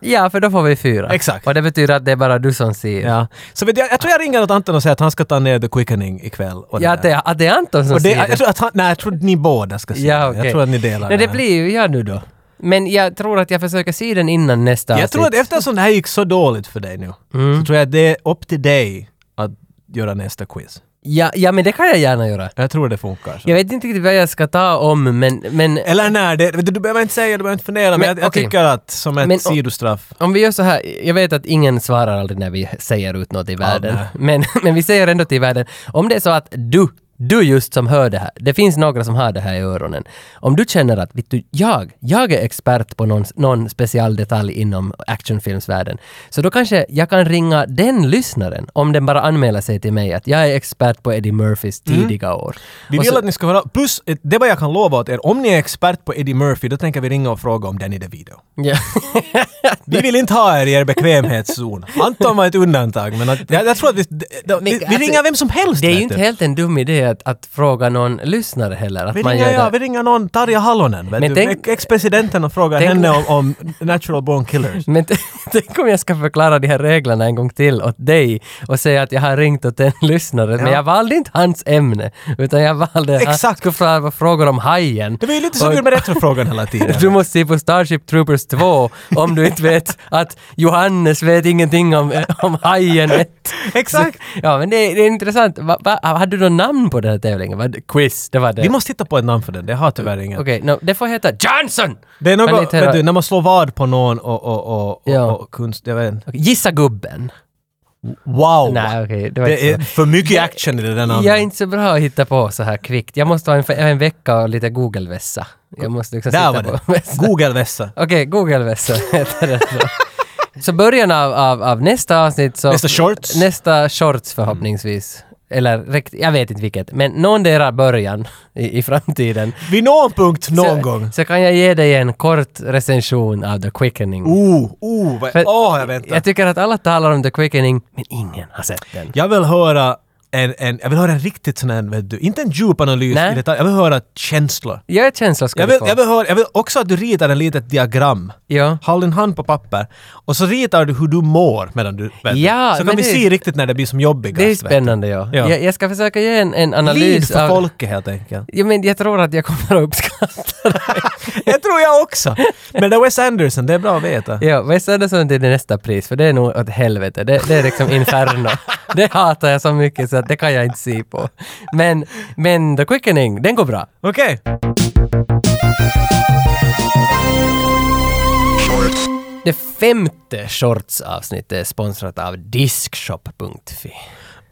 Speaker 1: Ja, för då får vi fyra.
Speaker 2: Exakt.
Speaker 1: Och det betyder att det är bara du som ser.
Speaker 2: Ja. Så vet jag, jag tror jag ringer åt Anton och säger att han ska ta ner The Quickening ikväll. Och
Speaker 1: Ja,
Speaker 2: där.
Speaker 1: att det, att det är Anton som
Speaker 2: och det,
Speaker 1: ser
Speaker 2: jag,
Speaker 1: det.
Speaker 2: tror att han, nej, jag tror att ni båda ska se
Speaker 1: Ja,
Speaker 2: det.
Speaker 1: okej.
Speaker 2: Jag tror att ni delar
Speaker 1: Nej, det
Speaker 2: här.
Speaker 1: blir ju jag nu då. Men jag tror att jag försöker se den innan nästa
Speaker 2: Jag
Speaker 1: avsnitt.
Speaker 2: tror att eftersom det här gick så dåligt för dig nu,
Speaker 1: Mm.
Speaker 2: så tror jag att det är upp till dig att göra nästa quiz.
Speaker 1: Ja, ja, men det kan jag gärna göra.
Speaker 2: Jag tror det funkar. Så.
Speaker 1: Jag vet inte riktigt vad jag ska ta om, men, men
Speaker 2: Eller när, det, du behöver inte säga, du behöver inte fundera, men,
Speaker 1: Men,
Speaker 2: jag, jag
Speaker 1: okej.
Speaker 2: tycker att som ett
Speaker 1: Men, och-
Speaker 2: sidostraff.
Speaker 1: om vi gör så här. Jag vet att ingen svarar aldrig när vi säger ut något i världen.
Speaker 2: nej.
Speaker 1: men, men vi säger ändå till världen. Om det är så att du, du just som hör det här. Det finns några som har det här i öronen. Om du känner att, vet du, jag, jag är expert på någon, någon speciell detalj inom actionfilmsvärlden. Så då kanske jag kan ringa den lyssnaren om den bara anmäler sig till mig att jag är expert på Eddie Murphys tidiga år.
Speaker 2: Vi Mm.
Speaker 1: Och
Speaker 2: vill
Speaker 1: så-
Speaker 2: att ni ska höra, plus eh, det är vad jag kan lova åt er, om ni är expert på Eddie Murphy, då tänker vi ringa och fråga om Danny DeVito.
Speaker 1: Ja.
Speaker 2: Vi vill inte ha er i er bekvämhetszon. Anton var ett undantag, men att, jag, jag tror att vi... d- d- vi, vi
Speaker 1: alltså,
Speaker 2: ringer vem som helst!
Speaker 1: Det är
Speaker 2: vet
Speaker 1: ju inte
Speaker 2: du.
Speaker 1: helt en dum idé att, att fråga någon lyssnare heller. Att
Speaker 2: vi
Speaker 1: man
Speaker 2: ringer,
Speaker 1: gör
Speaker 2: ja,
Speaker 1: det.
Speaker 2: vi ringer någon, Tarja Halonen, vet du.
Speaker 1: Men tänk-
Speaker 2: ex-presidenten och frågar
Speaker 1: Tänk-
Speaker 2: henne om, om natural born killers.
Speaker 1: Men t- tänk om jag ska förklara de här reglerna en gång till åt dig och säga att jag har ringt åt en lyssnare, men jag valde inte hans ämne, utan jag valde... Han
Speaker 2: Exakt.
Speaker 1: skulle fråga frågor om hajen.
Speaker 2: Det var ju lite så
Speaker 1: Och-
Speaker 2: kul med retrofrågan hela tiden.
Speaker 1: Du måste se på Starship Troopers 2 om du inte vet att Johannes vet ingenting om, eh, om hajen.
Speaker 2: Exakt!
Speaker 1: Ja, men det, det är intressant. Va, va, hade du något namn på den här tävlingen? Va, quiz, det var det.
Speaker 2: Vi måste hitta på ett namn för den, det har tyvärr inget.
Speaker 1: Okej, no, det får heta Johnson!
Speaker 2: Det är
Speaker 1: Kan ni
Speaker 2: något,
Speaker 1: inte höra-
Speaker 2: vet du, när man slår vad på någon och, och, och, och,
Speaker 1: Ja.
Speaker 2: och kunst, jag vet inte.
Speaker 1: Okej, Gissa gubben.
Speaker 2: Wow!
Speaker 1: Nej, okej. det var
Speaker 2: Det
Speaker 1: inte
Speaker 2: är
Speaker 1: så.
Speaker 2: för mycket action i det där
Speaker 1: Jag är
Speaker 2: namnet.
Speaker 1: inte så bra att hitta på så här kvickt. Jag måste ha en, fe- en vecka och lite Google-vässa. Jag måste liksom
Speaker 2: Där var
Speaker 1: sitta på
Speaker 2: det.
Speaker 1: vässa.
Speaker 2: Google-vässa.
Speaker 1: Okej, Google-vässa heter det så. Så början av, av, av nästa avsnitt så...
Speaker 2: Nästa shorts.
Speaker 1: Nästa shorts förhoppningsvis. Eller rikt, jag vet inte vilket. Men någon deras början i, i framtiden.
Speaker 2: Vid någon punkt någon
Speaker 1: så,
Speaker 2: gång.
Speaker 1: Så kan jag ge dig en kort recension av The Quickening.
Speaker 2: Oh, oh, vad,
Speaker 1: För-
Speaker 2: åh, jag väntar.
Speaker 1: Jag tycker att alla talar om The Quickening, men ingen har sett den.
Speaker 2: Jag vill höra en, en, jag vill höra en riktigt sån här, vet du, inte en djup analys
Speaker 1: Nej.
Speaker 2: i detalj, jag vill höra känslor.
Speaker 1: Gör ett känsla ska
Speaker 2: Jag
Speaker 1: du
Speaker 2: vill,
Speaker 1: få.
Speaker 2: jag, vill höra, jag vill också att du ritar ett litet diagram.
Speaker 1: Ja.
Speaker 2: Håll din hand på papper och så ritar du hur du mår medan du... vet du.
Speaker 1: Ja,
Speaker 2: så
Speaker 1: men
Speaker 2: kan vi
Speaker 1: det-
Speaker 2: se riktigt när det blir som jobbigast.
Speaker 1: Det är
Speaker 2: vet du.
Speaker 1: spännande ja.
Speaker 2: Ja.
Speaker 1: Jag, jag ska försöka ge en, en
Speaker 2: Lid
Speaker 1: analys
Speaker 2: för
Speaker 1: av...
Speaker 2: folket helt enkelt.
Speaker 1: Ja, men jag tror att jag kommer att uppskatta det.
Speaker 2: Det tror jag också. Men det är Wes Anderson, det är bra att veta.
Speaker 1: ja, Wes Anderson till det nästa pris, för det är nog åt helvete. Det, det är liksom inferno. det hatar jag så mycket så att det kan jag inte se på. Men, men The Quickening, den går bra.
Speaker 2: Okej.
Speaker 1: Det femte shortsavsnittet är sponsrat av Diskshop.fi.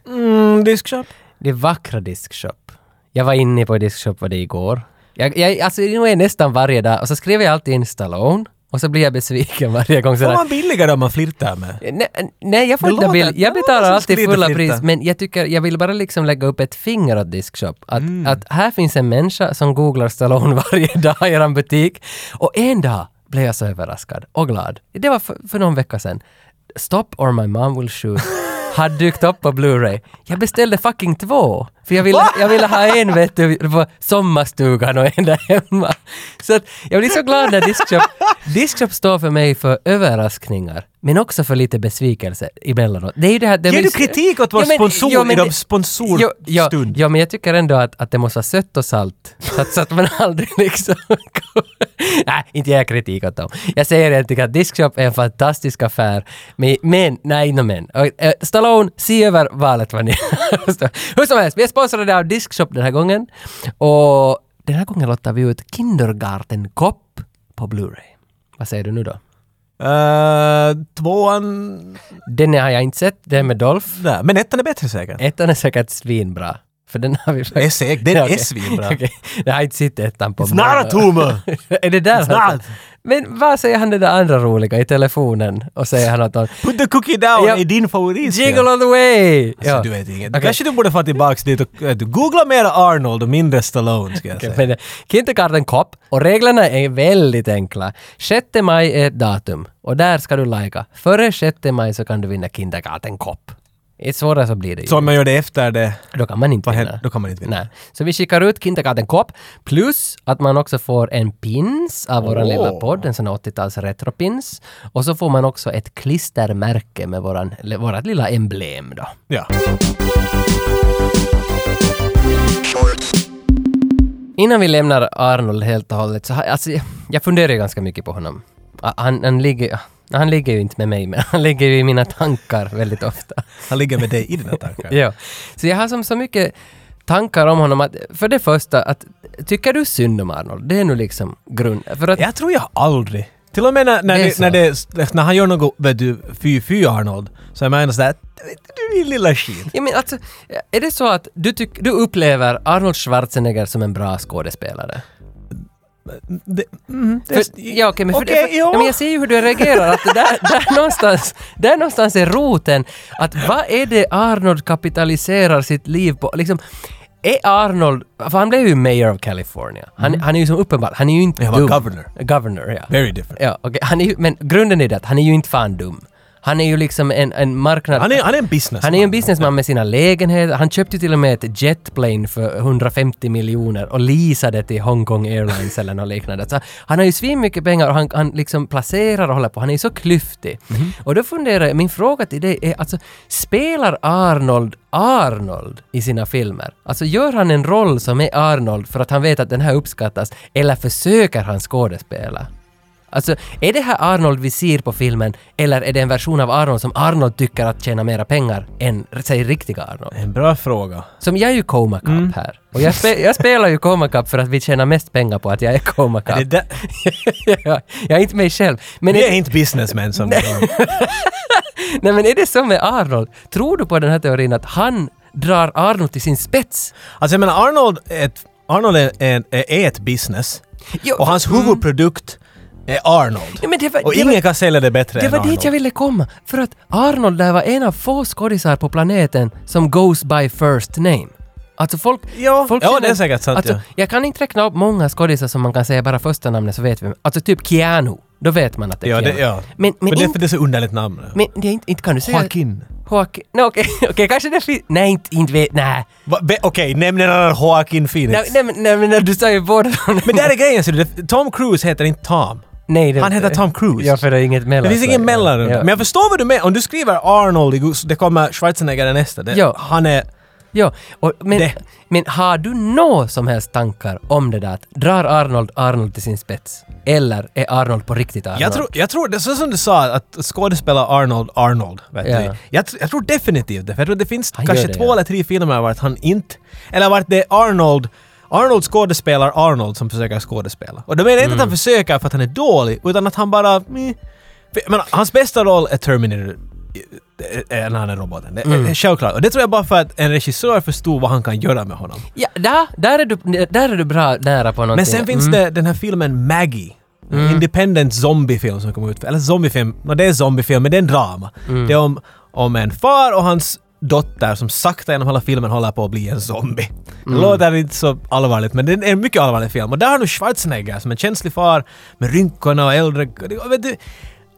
Speaker 2: Mm, diskshop.
Speaker 1: Det är vackra Diskshop. Jag var inne på Diskshop vad det igår. Jag, jag, alltså det är nästan varje dag och så skriver jag alltid in Stallone och så blir jag besviken varje gång.
Speaker 2: Får
Speaker 1: Sådär.
Speaker 2: man billigare om man flirtar med?
Speaker 1: Nej, nej, jag får
Speaker 2: Det
Speaker 1: inte
Speaker 2: låter-
Speaker 1: bill. Jag
Speaker 2: det
Speaker 1: betalar
Speaker 2: låter som
Speaker 1: alltid
Speaker 2: skryt och
Speaker 1: fulla
Speaker 2: flirta.
Speaker 1: pris, men jag tycker, jag vill bara liksom lägga upp ett finger åt Diskshop. Att, att här finns en människa som googlar Stallone varje dag i eran butik. Och en dag blev jag så överraskad och glad. Det var för, för någon vecka sedan. Stop or my mom will shoot har dykt upp på Blu-ray. Jag beställde fucking två. För jag ville, jag ville ha en vet du, på sommarstugan och en där hemma. Så att jag blir så glad när Diskshop... Diskshop står för mig för överraskningar, men också för lite besvikelse emellanåt. Det är ju det här... Det
Speaker 2: Ger
Speaker 1: blir-
Speaker 2: du kritik åt vår sponsor i de sponsorstund?
Speaker 1: Jo, ja, ja, men jag tycker ändå att, att det måste vara sött och salt. Så att, så att man aldrig liksom... nej, inte jag kritik åt dem. Jag säger att jag tycker att Diskshop är en fantastisk affär. Men, men nej, no, men. Och, eh, Stallone, se över valet vad ni Hur som helst, vi är sponsrade av Diskshop den här gången. Och den här gången lottar vi ut Kindergarten-kopp på Blu-ray. Vad säger du nu då?
Speaker 2: Eh, tvåan...
Speaker 1: Den har jag inte sett, den med Dolph.
Speaker 2: Nej, men ettan är bättre säkert.
Speaker 1: Ettan är säkert svinbra. För den har vi
Speaker 2: Det är
Speaker 1: faktiskt...
Speaker 2: säkert, den
Speaker 1: Okej.
Speaker 2: är svinbra.
Speaker 1: Okej. Jag har inte sett ettan på
Speaker 2: It's not a tumor!
Speaker 1: Är det där?
Speaker 2: It's not.
Speaker 1: Men vad säger han det där andra roliga i telefonen? Och säger han åt honom
Speaker 2: Put the cookie down
Speaker 1: Ja.
Speaker 2: är din favorit.
Speaker 1: Jiggle all the way!
Speaker 2: Alltså,
Speaker 1: Ja.
Speaker 2: du vet inget.
Speaker 1: Okej.
Speaker 2: Kanske du borde få tillbaks dit och äh, du googla mera Arnold och mindre Stallone ska jag säga.
Speaker 1: Men eh, Kindergarten Cop och reglerna är väldigt enkla. 6 maj är ett datum och där ska du lajka. Före 6 maj så kan du vinna Kindergarten Cop. Det är svårare så blir det ju.
Speaker 2: Så om man gör det efter det...
Speaker 1: Då kan man inte
Speaker 2: Vad
Speaker 1: vinna.
Speaker 2: händer? Då kan man inte vinna.
Speaker 1: Nej. Så vi skickar ut Kindergarten Cop plus att man också får en pins av våran
Speaker 2: Åh.
Speaker 1: lilla podd, en sån här 80-tals retropins. Och så får man också ett klistermärke med våran, eller vårat lilla emblem då.
Speaker 2: Ja.
Speaker 1: Innan vi lämnar Arnold helt och hållet så har, alltså, jag- jag funderar ju ganska mycket på honom. Ah, Han, han, ligger, han ligger ju inte med mig, men han ligger ju i mina tankar väldigt ofta.
Speaker 2: Han ligger med dig i dina tankar.
Speaker 1: Ja. Så jag har som så mycket tankar om honom att, för det första, att tycker du synd om Arnold? Det är nu liksom grund... För att,
Speaker 2: Jag tror jag aldrig... Till och med när, när,
Speaker 1: Det är
Speaker 2: det,
Speaker 1: så.
Speaker 2: när, det, när han gör något, vet du, fy-fy Arnold, så är man ändå sådär... Du din lilla skit.
Speaker 1: Ja, men alltså, är det så att du, tyck, du upplever Arnold Schwarzenegger som en bra skådespelare?
Speaker 2: Det, mm, det,
Speaker 1: För, ja, okej, men, för,
Speaker 2: Okej,
Speaker 1: för,
Speaker 2: ja.
Speaker 1: ja. men jag ser ju hur du reagerar. Att det där, där, någonstans, där någonstans är roten. Att vad är det Arnold kapitaliserar sitt liv på? Liksom, är Arnold... För han blev ju mayor of California. Han,
Speaker 2: Mm.
Speaker 1: han är ju som uppenbart... Han är ju inte
Speaker 2: Ja, han
Speaker 1: dum.
Speaker 2: var governor.
Speaker 1: Governor, ja.
Speaker 2: Very different.
Speaker 1: Ja, okej. Han är ju, men grunden är det att han är ju inte fan dum. Han är ju liksom en, en marknad...
Speaker 2: Han är, han är en businessman.
Speaker 1: Han är ju en businessman med sina lägenheter. Han köpte ju till och med ett jetplane för 150 miljoner och leasade till Hongkong Airlines eller något liknande. Så han har ju svin mycket pengar och han, han liksom placerar och håller på. Han är ju så klyftig. Och då funderar jag, min fråga till dig är alltså, spelar Arnold Arnold i sina filmer? Alltså gör han en roll som är Arnold för att han vet att den här uppskattas eller försöker han skådespela? Alltså, är det här Arnold vi ser på filmen eller är det en version av Arnold som Arnold tycker att tjäna mera pengar än, säg, riktiga Arnold?
Speaker 2: En bra fråga.
Speaker 1: Som jag är ju Coma Cup
Speaker 2: Mm.
Speaker 1: här. Och jag, spe, jag spelar ju Coma Cup för att vi tjänar mest pengar på att jag är Coma
Speaker 2: Det
Speaker 1: Cup.
Speaker 2: där,
Speaker 1: jag är inte mig själv. Men
Speaker 2: vi
Speaker 1: är,
Speaker 2: är inte businessmen som det är.
Speaker 1: nej, men är det så med Arnold? Tror du på den här teorin att han drar Arnold till sin spets?
Speaker 2: Alltså jag menar Arnold, är ett, Arnold är, är, är ett business.
Speaker 1: Jo, Mm.
Speaker 2: och hans huvudprodukt är Arnold.
Speaker 1: Ja, men det var-
Speaker 2: och
Speaker 1: det
Speaker 2: ingen
Speaker 1: var-
Speaker 2: kan sälja det bättre
Speaker 1: Det
Speaker 2: än
Speaker 1: var
Speaker 2: Arnold.
Speaker 1: dit jag ville komma. För att Arnold där var en av få skådisar på planeten som goes by first name. Alltså folk...
Speaker 2: Ja,
Speaker 1: folk
Speaker 2: ja,
Speaker 1: känner-
Speaker 2: det är säkert sant,
Speaker 1: Alltså,
Speaker 2: ja.
Speaker 1: Jag kan inte räkna upp många skådisar som man kan säga bara första namnet så vet vi. Alltså typ Keanu. Då vet man att det är
Speaker 2: Ja, det,
Speaker 1: Keanu.
Speaker 2: ja.
Speaker 1: Men, men,
Speaker 2: det är för
Speaker 1: inte,
Speaker 2: det är så underligt namn.
Speaker 1: men det är inte, inte kan du säga...
Speaker 2: Joaquin.
Speaker 1: Joaquin. No, Okej, okej, kanske det finns... Nej, inte, inte vet... Nej.
Speaker 2: Va- be- Okej, nämn en annan Joaquin Phoenix.
Speaker 1: Nej, nej, men- nej, men du sa ju båda namnen.
Speaker 2: Men där är grejen, ser du. Det- Tom Cruise heter inte Tom.
Speaker 1: Nej, det-
Speaker 2: han heter Tom Cruise.
Speaker 1: Ja, för det är inget mellan.
Speaker 2: Det finns ingen mellanrum. Men jag förstår vad du menar. Om du skriver Arnold, i Gus- det kommer Schwarzenegger nästa. Det,
Speaker 1: Ja.
Speaker 2: Han är...
Speaker 1: Ja, och, men,
Speaker 2: Det.
Speaker 1: men har du några som helst tankar om det där att drar Arnold Arnold till sin spets? Eller är Arnold på riktigt Arnold?
Speaker 2: Jag tror, jag tror, det är så som du sa, att skådespela Arnold Arnold. Vet
Speaker 1: Ja.
Speaker 2: du. Jag, tr- jag tror definitivt det, för jag tror det finns
Speaker 1: Han gör
Speaker 2: kanske
Speaker 1: det,
Speaker 2: två
Speaker 1: ja.
Speaker 2: eller tre filmer vart han inte... Eller vart det är Arnold, Arnold skådespelar Arnold som försöker skådespela. Och då menar jag inte att
Speaker 1: Mm.
Speaker 2: han försöker för att han är dålig, utan att han bara... meh. För, jag menar, hans bästa roll är Terminator eh, eh, när han är roboten. Det är
Speaker 1: Mm.
Speaker 2: det är självklart. Och det tror jag bara för att en regissör förstod vad han kan göra med honom.
Speaker 1: Ja, där, där, är du, där är du bra nära på någonting.
Speaker 2: Men sen finns det mm. den här filmen Maggie. En independent zombiefilm som kom ut. Eller zombiefilm, no, det är zombiefilm men det är en drama. Det är om, om en far och hans dotter som sakta genom hela filmen håller på att bli en zombie. Det låter inte så allvarligt men det är en mycket allvarlig film. Och där har du Schwarzenegger som en känslig far med rynkorna och äldre... och Vet du,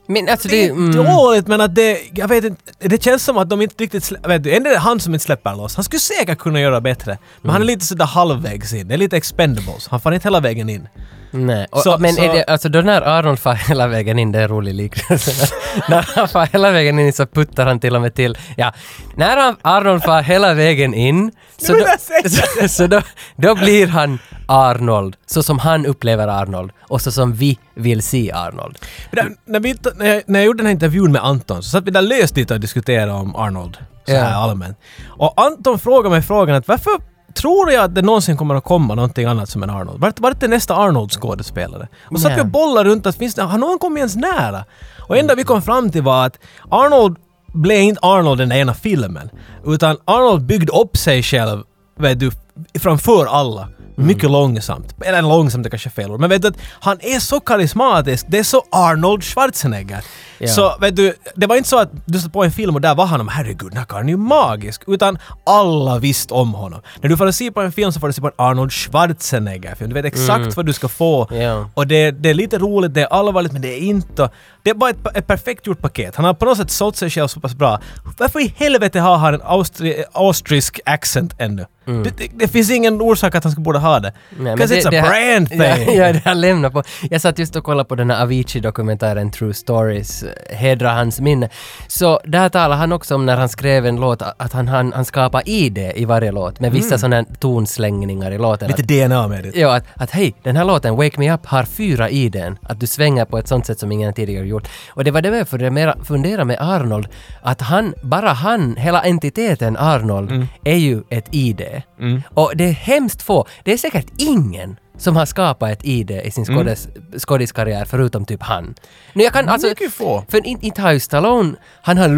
Speaker 1: Men alltså
Speaker 2: det mm.
Speaker 1: det...
Speaker 2: är dåligt men att det... Jag vet inte. Det känns som att de inte riktigt... slä- Vet du, ändå är det han som inte släpper loss. Han skulle säkert kunna göra bättre. Men han är lite sådär halvvägs in. Det är lite expendables. Han far inte hela vägen in.
Speaker 1: Nej, och,
Speaker 2: Så-
Speaker 1: men
Speaker 2: så-
Speaker 1: Är det, alltså då när Arnold far hela vägen in, det är en rolig liknelse. när han far hela vägen in så puttar han till och med till. Ja, när han, Arnold far hela vägen in så,
Speaker 2: vill
Speaker 1: då,
Speaker 2: jag säga
Speaker 1: så, så då, då blir han Arnold, så som han upplever Arnold och så som vi vill se Arnold.
Speaker 2: Men Där, när, vi, när, jag, när jag gjorde den här intervjun med Anton så satt vi där löst lite och diskuterade om Arnold. Så här
Speaker 1: Ja.
Speaker 2: allmänt. Och Anton frågade mig frågan att varför tror jag att det någonsin kommer att komma någonting annat som en Arnold? Vart, vart är nästa Arnold-skådespelare? Och så satt vi
Speaker 1: Nej.
Speaker 2: och bollade runt att finns det, har någon kommit ens nära? Och enda vi kom fram till var att Arnold blev inte Arnold den där ena filmen. Utan Arnold byggde upp sig själv vet du, framför alla. Mycket långsamt. Eller långsamt är kanske fel ord. Men vet du att han är så karismatisk. Det är så Arnold Schwarzenegger.
Speaker 1: Ja.
Speaker 2: Så vet du, det var inte så att du satt på en film och där var han om herregud, den här karln är ju magisk. Utan alla visste om honom. När du får se på en film så får du se på en Arnold Schwarzenegger-film. Du vet exakt vad du ska få.
Speaker 1: Ja.
Speaker 2: Och det, det är lite roligt, det är allvarligt, men det är inte... Det är bara ett, ett perfekt gjort paket. Han har på något sätt sålt sig själv så pass bra. Varför i helvete har han en austri, austrisk accent ännu? Det, det, det finns ingen orsak att han ska borde ha det.
Speaker 1: Mm. Nej, men
Speaker 2: Because it's a
Speaker 1: det-
Speaker 2: brand
Speaker 1: Ja,
Speaker 2: thing!
Speaker 1: ja, det han lämnar på. Jag satt just och kollade på den här Avicii-dokumentären True Stories, eh, Hedra hans minne. Så där talar han också om när han skrev en låt a- att han, han, han skapar ID i varje låt med vissa sådana tonslängningar i låten.
Speaker 2: Mm. Lite
Speaker 1: Att-
Speaker 2: DNA med det.
Speaker 1: Ja, att, att hej, den här låten Wake Me Up har fyra i den. Att du svänger på ett sånt sätt som ingen tidigare gjort. Och det var det jag funderade mera- funderade med Arnold, att han, bara han, hela entiteten Arnold, är ju ett ID. Och det är hemskt få, det är säkert ingen som har skapat ett ID i sin skådes, skådiskarriär förutom typ han. Nu jag kan alltså...
Speaker 2: Mycket få.
Speaker 1: För inte inte har ju Stallone, han har...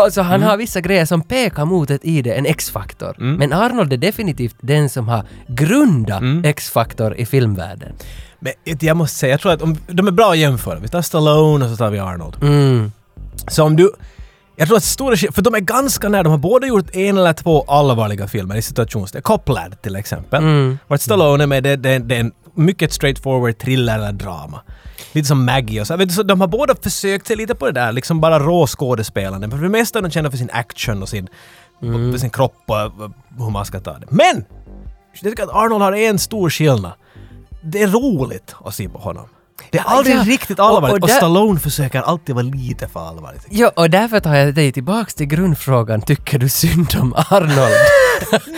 Speaker 1: Alltså han
Speaker 2: Mm.
Speaker 1: har vissa grejer som pekar mot ett ID, en X-faktor. Men Arnold är definitivt den som har grundat
Speaker 2: Mm.
Speaker 1: X-faktor i filmvärlden.
Speaker 2: Men ett- jag måste säga, jag tror att om, de är bra att jämföra. Vi tar Stallone och så tar vi Arnold. Så om du... Jag tror att stora skill- för de är ganska nära, de har båda gjort en eller två allvarliga filmer i situationstecken. Copland till exempel.
Speaker 1: Mm.
Speaker 2: Vart Stallone är med, det, det, det är en mycket straightforward thriller eller drama. Lite som Maggie och så. Vet du, så de har båda försökt sig lite på det där, liksom bara råskådespelande. För det mesta är de kända för sin action och sin,
Speaker 1: Mm.
Speaker 2: och sin kropp och och hur man ska ta det. Men! Jag tycker att Arnold har en stor skillnad. Det är roligt att se på honom. Det är aldrig
Speaker 1: ja.
Speaker 2: riktigt
Speaker 1: Och- och
Speaker 2: allvarligt. Och,
Speaker 1: där-
Speaker 2: Stallone försöker alltid vara lite för allvarligt.
Speaker 1: Ja, och därför tar jag dig tillbaks till grundfrågan, tycker du synd om Arnold?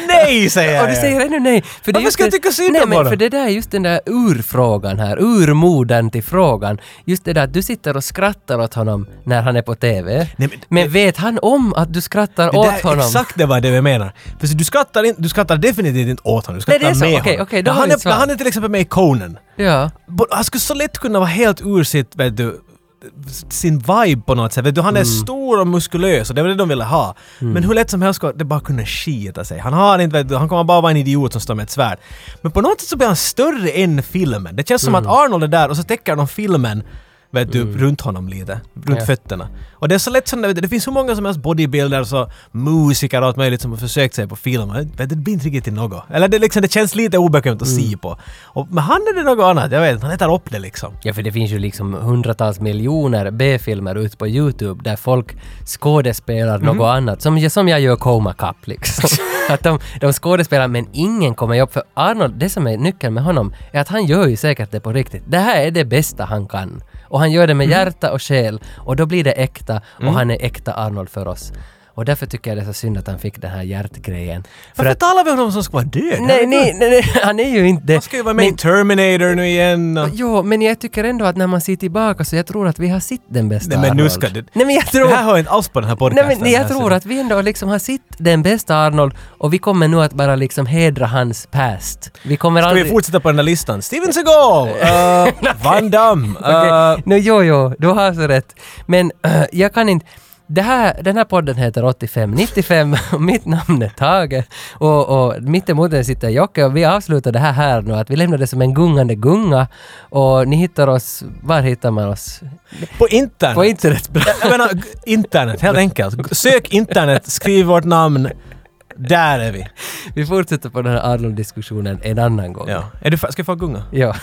Speaker 2: Nej säger jag!
Speaker 1: Och du säger ännu nej. För
Speaker 2: Varför
Speaker 1: just
Speaker 2: ska jag
Speaker 1: det-
Speaker 2: tycka synd
Speaker 1: nej,
Speaker 2: om
Speaker 1: men
Speaker 2: honom?
Speaker 1: För det där är just den där urfrågan här, urmodern till frågan. Just det där att du sitter och skrattar åt honom när han är på TV.
Speaker 2: men-
Speaker 1: men, vet han om att du skrattar
Speaker 2: det
Speaker 1: åt
Speaker 2: där,
Speaker 1: honom?
Speaker 2: Exakt det var det vi menar. För så du skrattar, in, du skrattar definitivt inte åt honom, du
Speaker 1: Nej,
Speaker 2: skrattar
Speaker 1: det är så.
Speaker 2: med
Speaker 1: Okej,
Speaker 2: honom.
Speaker 1: okej, då
Speaker 2: när,
Speaker 1: har
Speaker 2: han
Speaker 1: vi
Speaker 2: är,
Speaker 1: ett svar.
Speaker 2: när han är till exempel med i Conan,
Speaker 1: Ja.
Speaker 2: bo- han skulle så lätt kunna vara helt ur sitt, vet du, sin vibe på något sätt. Vet du, han är
Speaker 1: Mm.
Speaker 2: stor och muskulös och det var det de ville ha. Men hur lätt som helst ska det bara kunna skita sig. Han har inte, vet du, han kommer bara vara en idiot som står med ett svärd. Men på något sätt så blir han större än filmen. Det känns som
Speaker 1: Mm.
Speaker 2: att Arnold är där och så täcker de filmen vet du, runt honom lite. Runt
Speaker 1: Ja.
Speaker 2: fötterna. Och det är så lätt som, vet du, det finns så många som helst bodybuilders och musiker och allt möjligt som har försökt sig på film. Vet du, Det blir inte riktigt till något. Eller det, liksom, det känns lite obekvämt att
Speaker 1: Mm.
Speaker 2: se på. Och, men han är det något annat, jag vet inte. Han äter upp det liksom.
Speaker 1: Ja, för det finns ju liksom hundratals miljoner B-filmer ute på YouTube där folk skådespelar
Speaker 2: Mhm.
Speaker 1: något annat. Som, som jag gör Coma Cup liksom. att de, de skådespelar men ingen kommer upp. För Arnold, det som är nyckeln med honom är att han gör ju säkert det på riktigt. Det här är det bästa han kan. Och han gör det med
Speaker 2: Mhm.
Speaker 1: hjärta och själ. Och då blir det äkta och
Speaker 2: Mm.
Speaker 1: han är äkta Arnold för oss. Och därför tycker jag det är så synd att han fick den här hjärtgrejen. För
Speaker 2: Varför
Speaker 1: att,
Speaker 2: talar vi om någon som ska vara död?
Speaker 1: nej, nej, nej, nej, han är ju inte det.
Speaker 2: Han ska ju vara med
Speaker 1: Men-
Speaker 2: i Terminator nu igen. Och...
Speaker 1: Jo, men jag tycker ändå att när man ser tillbaka så jag tror att vi har sett den bästa
Speaker 2: Nej, men nu
Speaker 1: Arnold.
Speaker 2: ska du-
Speaker 1: Nej men jag
Speaker 2: Det
Speaker 1: tror...
Speaker 2: här hör inte alls på den här
Speaker 1: Nej,
Speaker 2: podcasten. Alltså,
Speaker 1: men nej, jag tror att vi ändå liksom har sett den bästa Arnold och vi kommer nu att bara liksom hedra hans past. Vi kommer
Speaker 2: Ska vi
Speaker 1: aldrig...
Speaker 2: fortsätta på den här listan? Steven Seagal! Uh, Van Damme!
Speaker 1: Okej,
Speaker 2: eh,
Speaker 1: nå, jo, jo, du har så rätt. Men eh, jag kan inte... Det här, den här podden heter 8595 och mitt namn är Tage och, och mittemot den sitter Jocke och vi avslutar det här här nu att vi lämnar det som en gungande gunga och ni hittar oss, var hittar man oss?
Speaker 2: På internet!
Speaker 1: På internet
Speaker 2: Jag menar, g- internet, helt enkelt. Sök internet, skriv vårt namn. Där är vi.
Speaker 1: Vi fortsätter på den här Arnold-diskussionen en annan gång.
Speaker 2: Ja. Är du, fa- ska jag få gunga?
Speaker 1: ja.